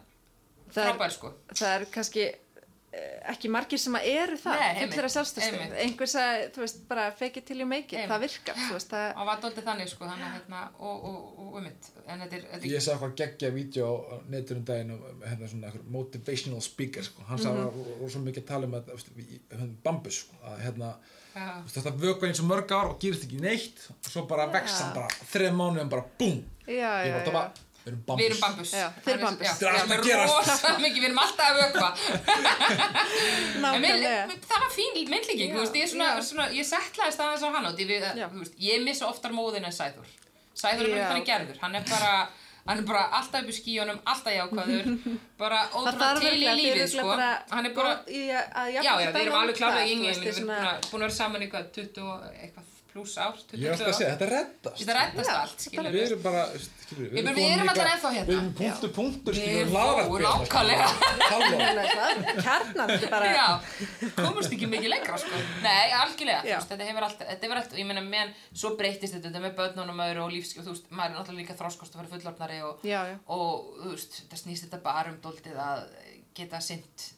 A: Það er-
B: frábær, sko
A: Það er kannski eh, ekki margir sem að eru það,
B: Nei, einmitt,
A: fullir að sjálfstöðstu.
B: einmitt.
A: Einhver sagði, þú veist, bara fake it till you make it,
B: Einmitt.
A: það virkar, þú veist, það...
B: og var dóldi þannig, sko, þannig að, hérna, og, og, og, og mitt, en þetta er, þetta
C: Ég sá eitthvað geggja vídeo á neturinn daginn og hérna svona einhver motivational speaker sko. hann
B: Mhm.
C: sagði mm -hmm. rosa mikið að tala um að, veist, í- hérna, bambus sko. að, hérna,
B: Já.
C: veist, þetta vökva eins og mörg ár og gerist ekki neitt og svo bara vex hann bara þreð mánuðum bara búm
A: Já, já,
C: ég bara, það
A: já.
C: var, við erum
B: er
C: bambus,
B: við erum bambus
A: Já, þið eru bambus.
C: Þetta er allt að
B: við erum
C: gerast.
B: rosa mikið, við erum alltaf að vökva En mér,
A: Nákvæmlega.
B: það var fín myndlíking,
A: Já,
B: þú veist, ég, er svona,
A: já.
B: svona, ég settlaðist aðeins á hann og því við,
A: Já.
B: þú veist, ég missa oftar móðin en Sæður. Sæður er
A: Já.
B: bara ekki þannig gerður, hann er bara, hann er bara alltaf upp í skíunum, alltaf jákvæður, bara
A: Það
B: ótrúlega
A: þarf
B: til í
A: virkilega, þið
B: lífið,
A: eru
B: sko.
A: bara
B: Hann er bara,
A: góð í að- að
B: já,
A: jafna
B: já,
A: sig
B: við erum
A: á
B: alveg
A: það,
B: klárlega í
A: þú veist,
B: yngið, við
A: er
B: erum
A: svona-
B: búin að- búin að vera saman eitthvað 20 og eitthvað pluss ár, 22
C: ég er alltaf að segja, þetta reddast
B: Þetta reddast
A: Já,
B: allt,
A: þetta
B: skilur
C: við erum bara, skilur
B: Ég bara,
C: komin
B: við erum
C: líka-
B: allan ennþá hérna.
C: við erum punktur punktur,
B: Við
C: skilur, við erum
B: erum-
C: laðvarp hérna,
B: nákvæmlega.
C: skilur. Halló.
A: Nákvæmlega, kjarnan, þetta er bara...
B: Já, komast ekki mikið lengra sko. Nei, algjörlega, þú
A: Já.
B: veist, þetta hefur alltaf, þetta hefur alltaf, ég meina, meðan svo breytist þetta, þetta með börnunum öðru og lífskið, þú veist, maður er náttúrulega líka þroskost að vera fullorðnari og,
A: Já, já.
B: og, þú veist, það snýst þetta bara um dóltið að geta sinnt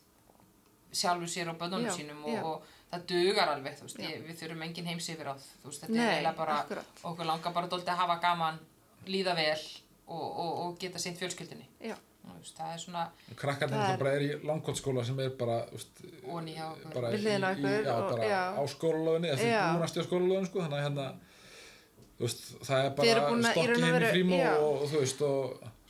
B: sjálfu sér og börnunum
A: Já,
B: sínum
A: já.
B: og, og það dugar alveg, þú veist,
A: Já.
B: ég, við þurfum engin heims yfir á, þú veist, þetta
A: Nei,
B: er eiginlega bara,
A: akkúrat.
B: okkur langar bara dóltið að hafa gaman, líða vel og, og, og geta sinnt fjölskyldinni,
A: Já,
B: þú veist, það er svona
A: Það
C: krakkarnir
A: er-
C: náttúrulega bara er í langkótsskóla sem er bara, úst,
B: Oní hjá okkur.
C: bara
A: Við hliðina á
C: í- í-
A: ykkur
C: já,
A: og-
C: bara
A: já.
C: á skólalöfinni, eða
A: Já.
C: þau búin að stjá skólalöfin sko, þannig að hérna þú veist, það er
A: Þið eru búin
C: bara
A: að- í raun
C: stokkið
A: og
C: inn í
A: veru-
C: frímó
A: já.
C: og, og þú veist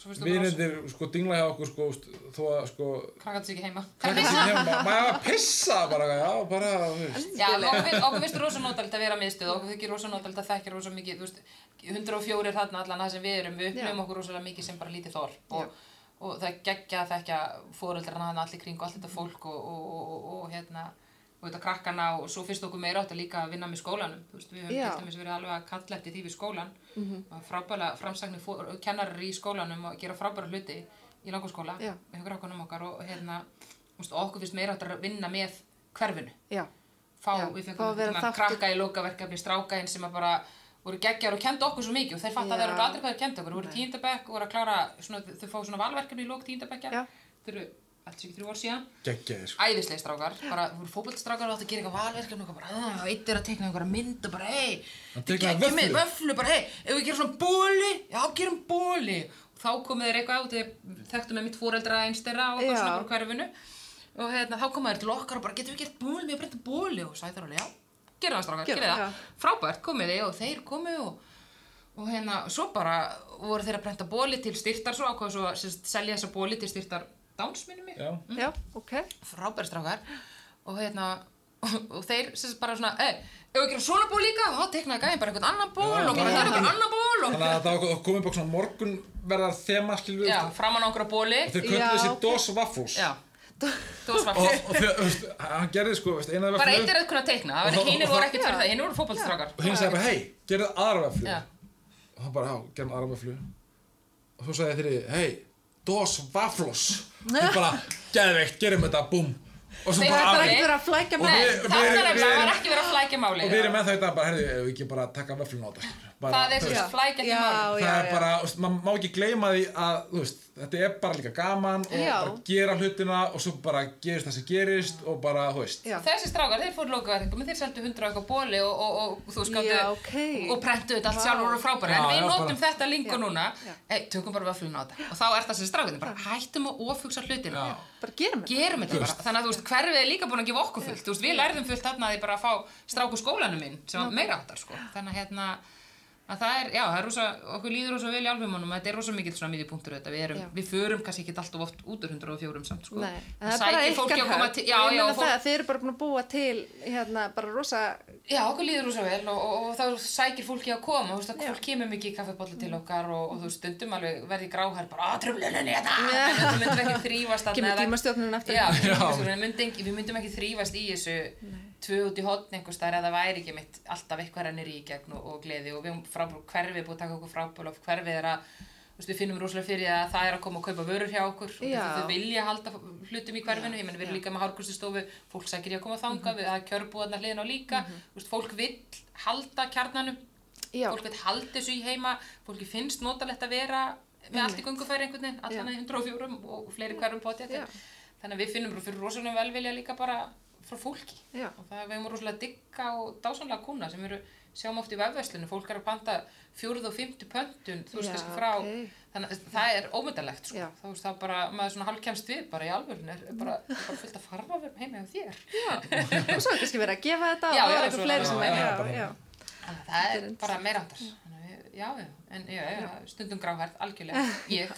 B: Svo
C: og
B: finnst þú bara-
C: vinendir sko dingla hjá okkur sko, úst, þó að sko
B: krakkandi sig ekki heima.
C: krakkar sem nefnum, ma- maður er að pissa bara, já, bara, þú veist
B: Já, en okkur, fin- okkur finnst rosa notalegt að vera miðstöð, okkur þykir rosa notalegt að þekkja rosa mikið, þú veist, 104 er þarna allan það sem við erum, við uppnum
A: Já.
B: okkur rosalega mikið sem bara lítið þorp og, og það er geggja að þekkja fóreldrana hann allir kring og allt þetta fólk og, og, og, og, og hérna, og þetta krakkana og svo finnst okkur meira átt að líka að vinna með skólanum, þú veist, við höfum
A: Já. Mhm.
B: til dæmis verið alveg að kalla eftir því við skólan og frábæla framsæknir fór- kennarar í skólanum og gera frábæra hluti í langskóla
A: Já.
B: með krakkana okkar og, og hérna, þú veist, okkur finnst meira átt að vinna með hverfinu
A: já,
B: fá,
A: Já,
B: við
A: fá að
B: fengum
A: vera
B: tíma
A: þáttur-
B: krakka í lokaverkefni strákainn sem að bara voru geggjar og kendu okkur svo mikið og þeir fatt að
A: Já.
B: þeir eru aldrei hvað þeir kendu okkur, voru
A: Nei.
B: tíndabekk og voru að klára, svona, þau fá svona valverkefni í lok tíndabekja,
A: Já.
B: þau eru alltaf ekki þrjú ár síðan
C: geggjaði sko
B: æðislega strákar, bara voru fótballstrákar og áttu að gera eitthvað valverkefni og eitthvað bara, "Ah, einn er að tekna einhverja mynd og bara, hei,
C: Hann
B: þetta er
C: teiknaði
B: ekki mynd,
C: vöfflu.
B: vöflu, bara, hei, ef við gerum svona bóli, já, gerum bóli. Og þá komu þeir eitthvað át, þeir þekktu með mitt fóreldra eins þeirra og
A: Já.
B: eitthvað svona bara úr hverfinu. Og hérna, þá komu þeir til okkar og bara, getum við gert bóli, við breytum bóli og sæði þar alveg, já, gerum það strákar,
A: Gerum það,
B: gerum það. Frábært, komið þið og þeir komu og og hérna, svo bara voru þeir að brenta bóli til styrtar svo ákvað svo sem sagt, selja þessa bóli til styrtar dánsminni mig
C: já,
A: já, ok.
B: frábæri strákar og hérna og þeir sem sagt bara svona "Ey, ef við gerum svona ból líka, þá teknaði gæðin bara einhvern annan ból
C: Já,
B: og bara
C: já.
B: það er einhvern annan ból og
C: þannig að það var- komið bara svona morgun verðar þema, skilur við,
B: já,
C: og
B: framan á okkur á bóli
C: þeir
A: Já,
C: kölluðu sér
A: ok.
C: dos vaffús
B: já, svart Þetta var
D: og,
B: svart
D: og þegar, þú veist, hann gerði sko, veist, eina
B: Bara
D: veflu
B: eitt er eitthvað að teikna, það
D: Og-
B: var- hinir voru
D: og-
B: ekkert fyrir það, hinir voru fótballstrákar
D: og hinn sagði bara, hei, gerðu aðra veflu
B: Já.
D: og hann bara, já, gerðum aðra veflu og svo sagði þeirri, hei dos vaflos og bara, geðveikt, gerum þetta, búm og svo
B: Nei,
D: bara,
B: það
A: Það
D: "Afi."
A: er
B: er Nei.
A: ekki verið að flækja
D: Og
B: Nei,
A: með
D: við-
B: það
D: við-
B: er
D: við-
B: nefnilega, það var ekki verið að flækja máli
D: og við erum með það í dag, bara, heyrðu, ef við ekki bara taka veflun á þetta bara,
B: Það er
D: þú
B: sem
D: veist,
B: sagt flækja ekki
A: Já,
B: máli
D: það er
A: já.
D: bara, þú veist, maður má ekki gleyma því að, þú veist, þetta er bara líka gaman og
A: Já.
D: bara gera hlutina og svo bara gerist það sem gerist og bara, þú veist
A: Já.
B: Þessi strákar, þeir fóru lókaverðingum, þeir seldu hundra eitthvað bóli og, og, og þú skáttu
A: Já, ok.
B: og prentu þetta allt
A: Vá.
B: sjálfur og frábæri en
D: Já,
B: við
D: já,
B: notum
D: bara-
B: þetta lingu
A: Já,
B: núna
A: já.
B: hey, tökum bara vöflun á þetta og þá er það sem strákarnir, bara hættum að ofugsa hlutina
C: Já.
A: Bara gerum þetta
B: gerum þetta bara, þannig að þú veist, hverfið er líka búin að gefa okkur fullt, þú veist, við lærðum fullt þarna að ég bara að fá stráku skólanum minn sem var meira áttar, sko, þannig að hérna að það er, já, það er rosa, okkur líður rosa vel í albumunum, þetta er rosa mikill svona miðjupunktur þetta, við erum,
A: Já.
B: við förum kannski ekki alltaf oft út úr 104 samt, sko
A: Nei, en það
B: það
A: er bara
B: sækir fólki
A: ykkar
B: að koma
A: högg.
B: til, já,
A: Ég
B: já,
A: meina
B: fólk
A: það að þið eru bara búin að búa til hérna, bara rosa
B: Já, okkur líður rosa vel og, og, og þá sækir fólki að koma, þú veist að fólk kemur mikið í kaffibólla til okkar og, og þú veist, stundum alveg verði gráhær bara að tröfluninni þetta, en þetta myndum ekki þrýfast þarna
A: Kemur
B: eða-
A: tímastjórnin aftur.
B: Já,
D: Já.
B: tímastjórnin, myndi, ekki- við myndum ekki þrýfast í þessu tvö út í hotn einhvers staðar eða það væri ekki mitt alltaf eitthvað rennir í gegn og, og gleði og við höfum frábúr hverfið búið að taka okkur frábúr og hverfið er að Þú veist, við finnum rosalega fyrir því að það er að koma að kaupa vörur hjá okkur og
A: Já.
B: þau vilja halda hlutum í hverfinu, ég menn við erum líka með hárkurstustofu, fólk sækir í að koma
A: Mhm.
B: þanga, við það er kjörbúðarnar hliðin á líka, þú veist, fólk vill halda kjarnanum,
A: Já.
B: fólk vill halda þessu í heima, fólki finnst notalegt að vera með allt í gungufæri einhvern veginn,
A: Já.
B: allan að 104 og fleiri hverfum potið
A: Já.
B: þannig að við finnum bara fyrir rosalega velvilja líka bara frá fólki
A: Já.
B: og það við erum rosalega digga og dásanlega kúna sem eru sjáum oft í vefverslunum, fólk er að panta fjórð og fymtu pöntun þú veist
A: Já,
B: kannski frá
A: ok.
B: þannig að það er ómyndalegt sko.
A: Já. Mm.
B: þá veist það bara, maður svona halkjæmst við bara í alvörun er bara, bara fullt að farfa heima hjá þér
A: og svo er kannski verið að gefa þetta og
B: Já,
A: það
B: já,
A: er eitthvað
B: svona,
A: fleiri
B: já,
D: já,
A: sem er
D: bara-
A: já, já,
B: þannig að það er
A: Þetta er
B: bara meira andars þannig að við, já, já, en já, já, stundum gráhært, algjörlega, ég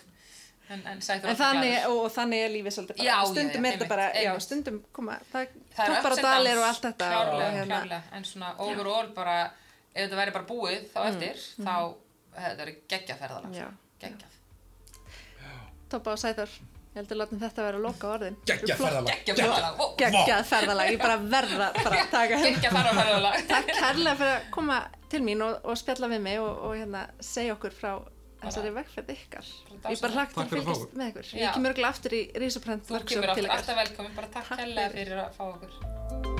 B: en, en sæður
A: en þannig, og þannig er lífið svolítið bara,
B: Já, já, já,
A: stundum er þetta
B: einmitt,
A: bara já,
B: einmitt.
A: stundum koma, það,
B: Það er
A: toppar og
B: ups and
A: dalir
B: downs,
A: og allt þetta og
B: klárlega,
A: hérna,
B: klárlega, en svona overall bara ef þetta væri bara búið þá eftir þá hefði þetta verið geggjaferðalag
A: Mm. Já.
B: geggjað,
A: toppa og sæður ég heldur látum þetta vera að loka orðin
D: Geggjað ferðalag.
B: geggjaferðalag ó,
A: geggjað ferðalag, ég bara verða bara að taka henni
B: geggjaferðalag
A: takk kærlega fyrir að koma til mín og, og spjalla við mig og, og hérna, segja okkur frá þessari vegferð ykkar
B: dásamlegt.
A: ég bara hlakka til
C: Takk
A: að
C: fyrir að fá
A: fylgjast
C: okkur.
A: með ykkur
B: Já.
A: ég kemur okkur aftur í Rísuprent
B: þú kemur
A: til
B: alltaf,
A: ykkar
B: alltaf velkomin bara takk
A: Takk
B: hella
A: fyrir.
B: fyrir að fá okkur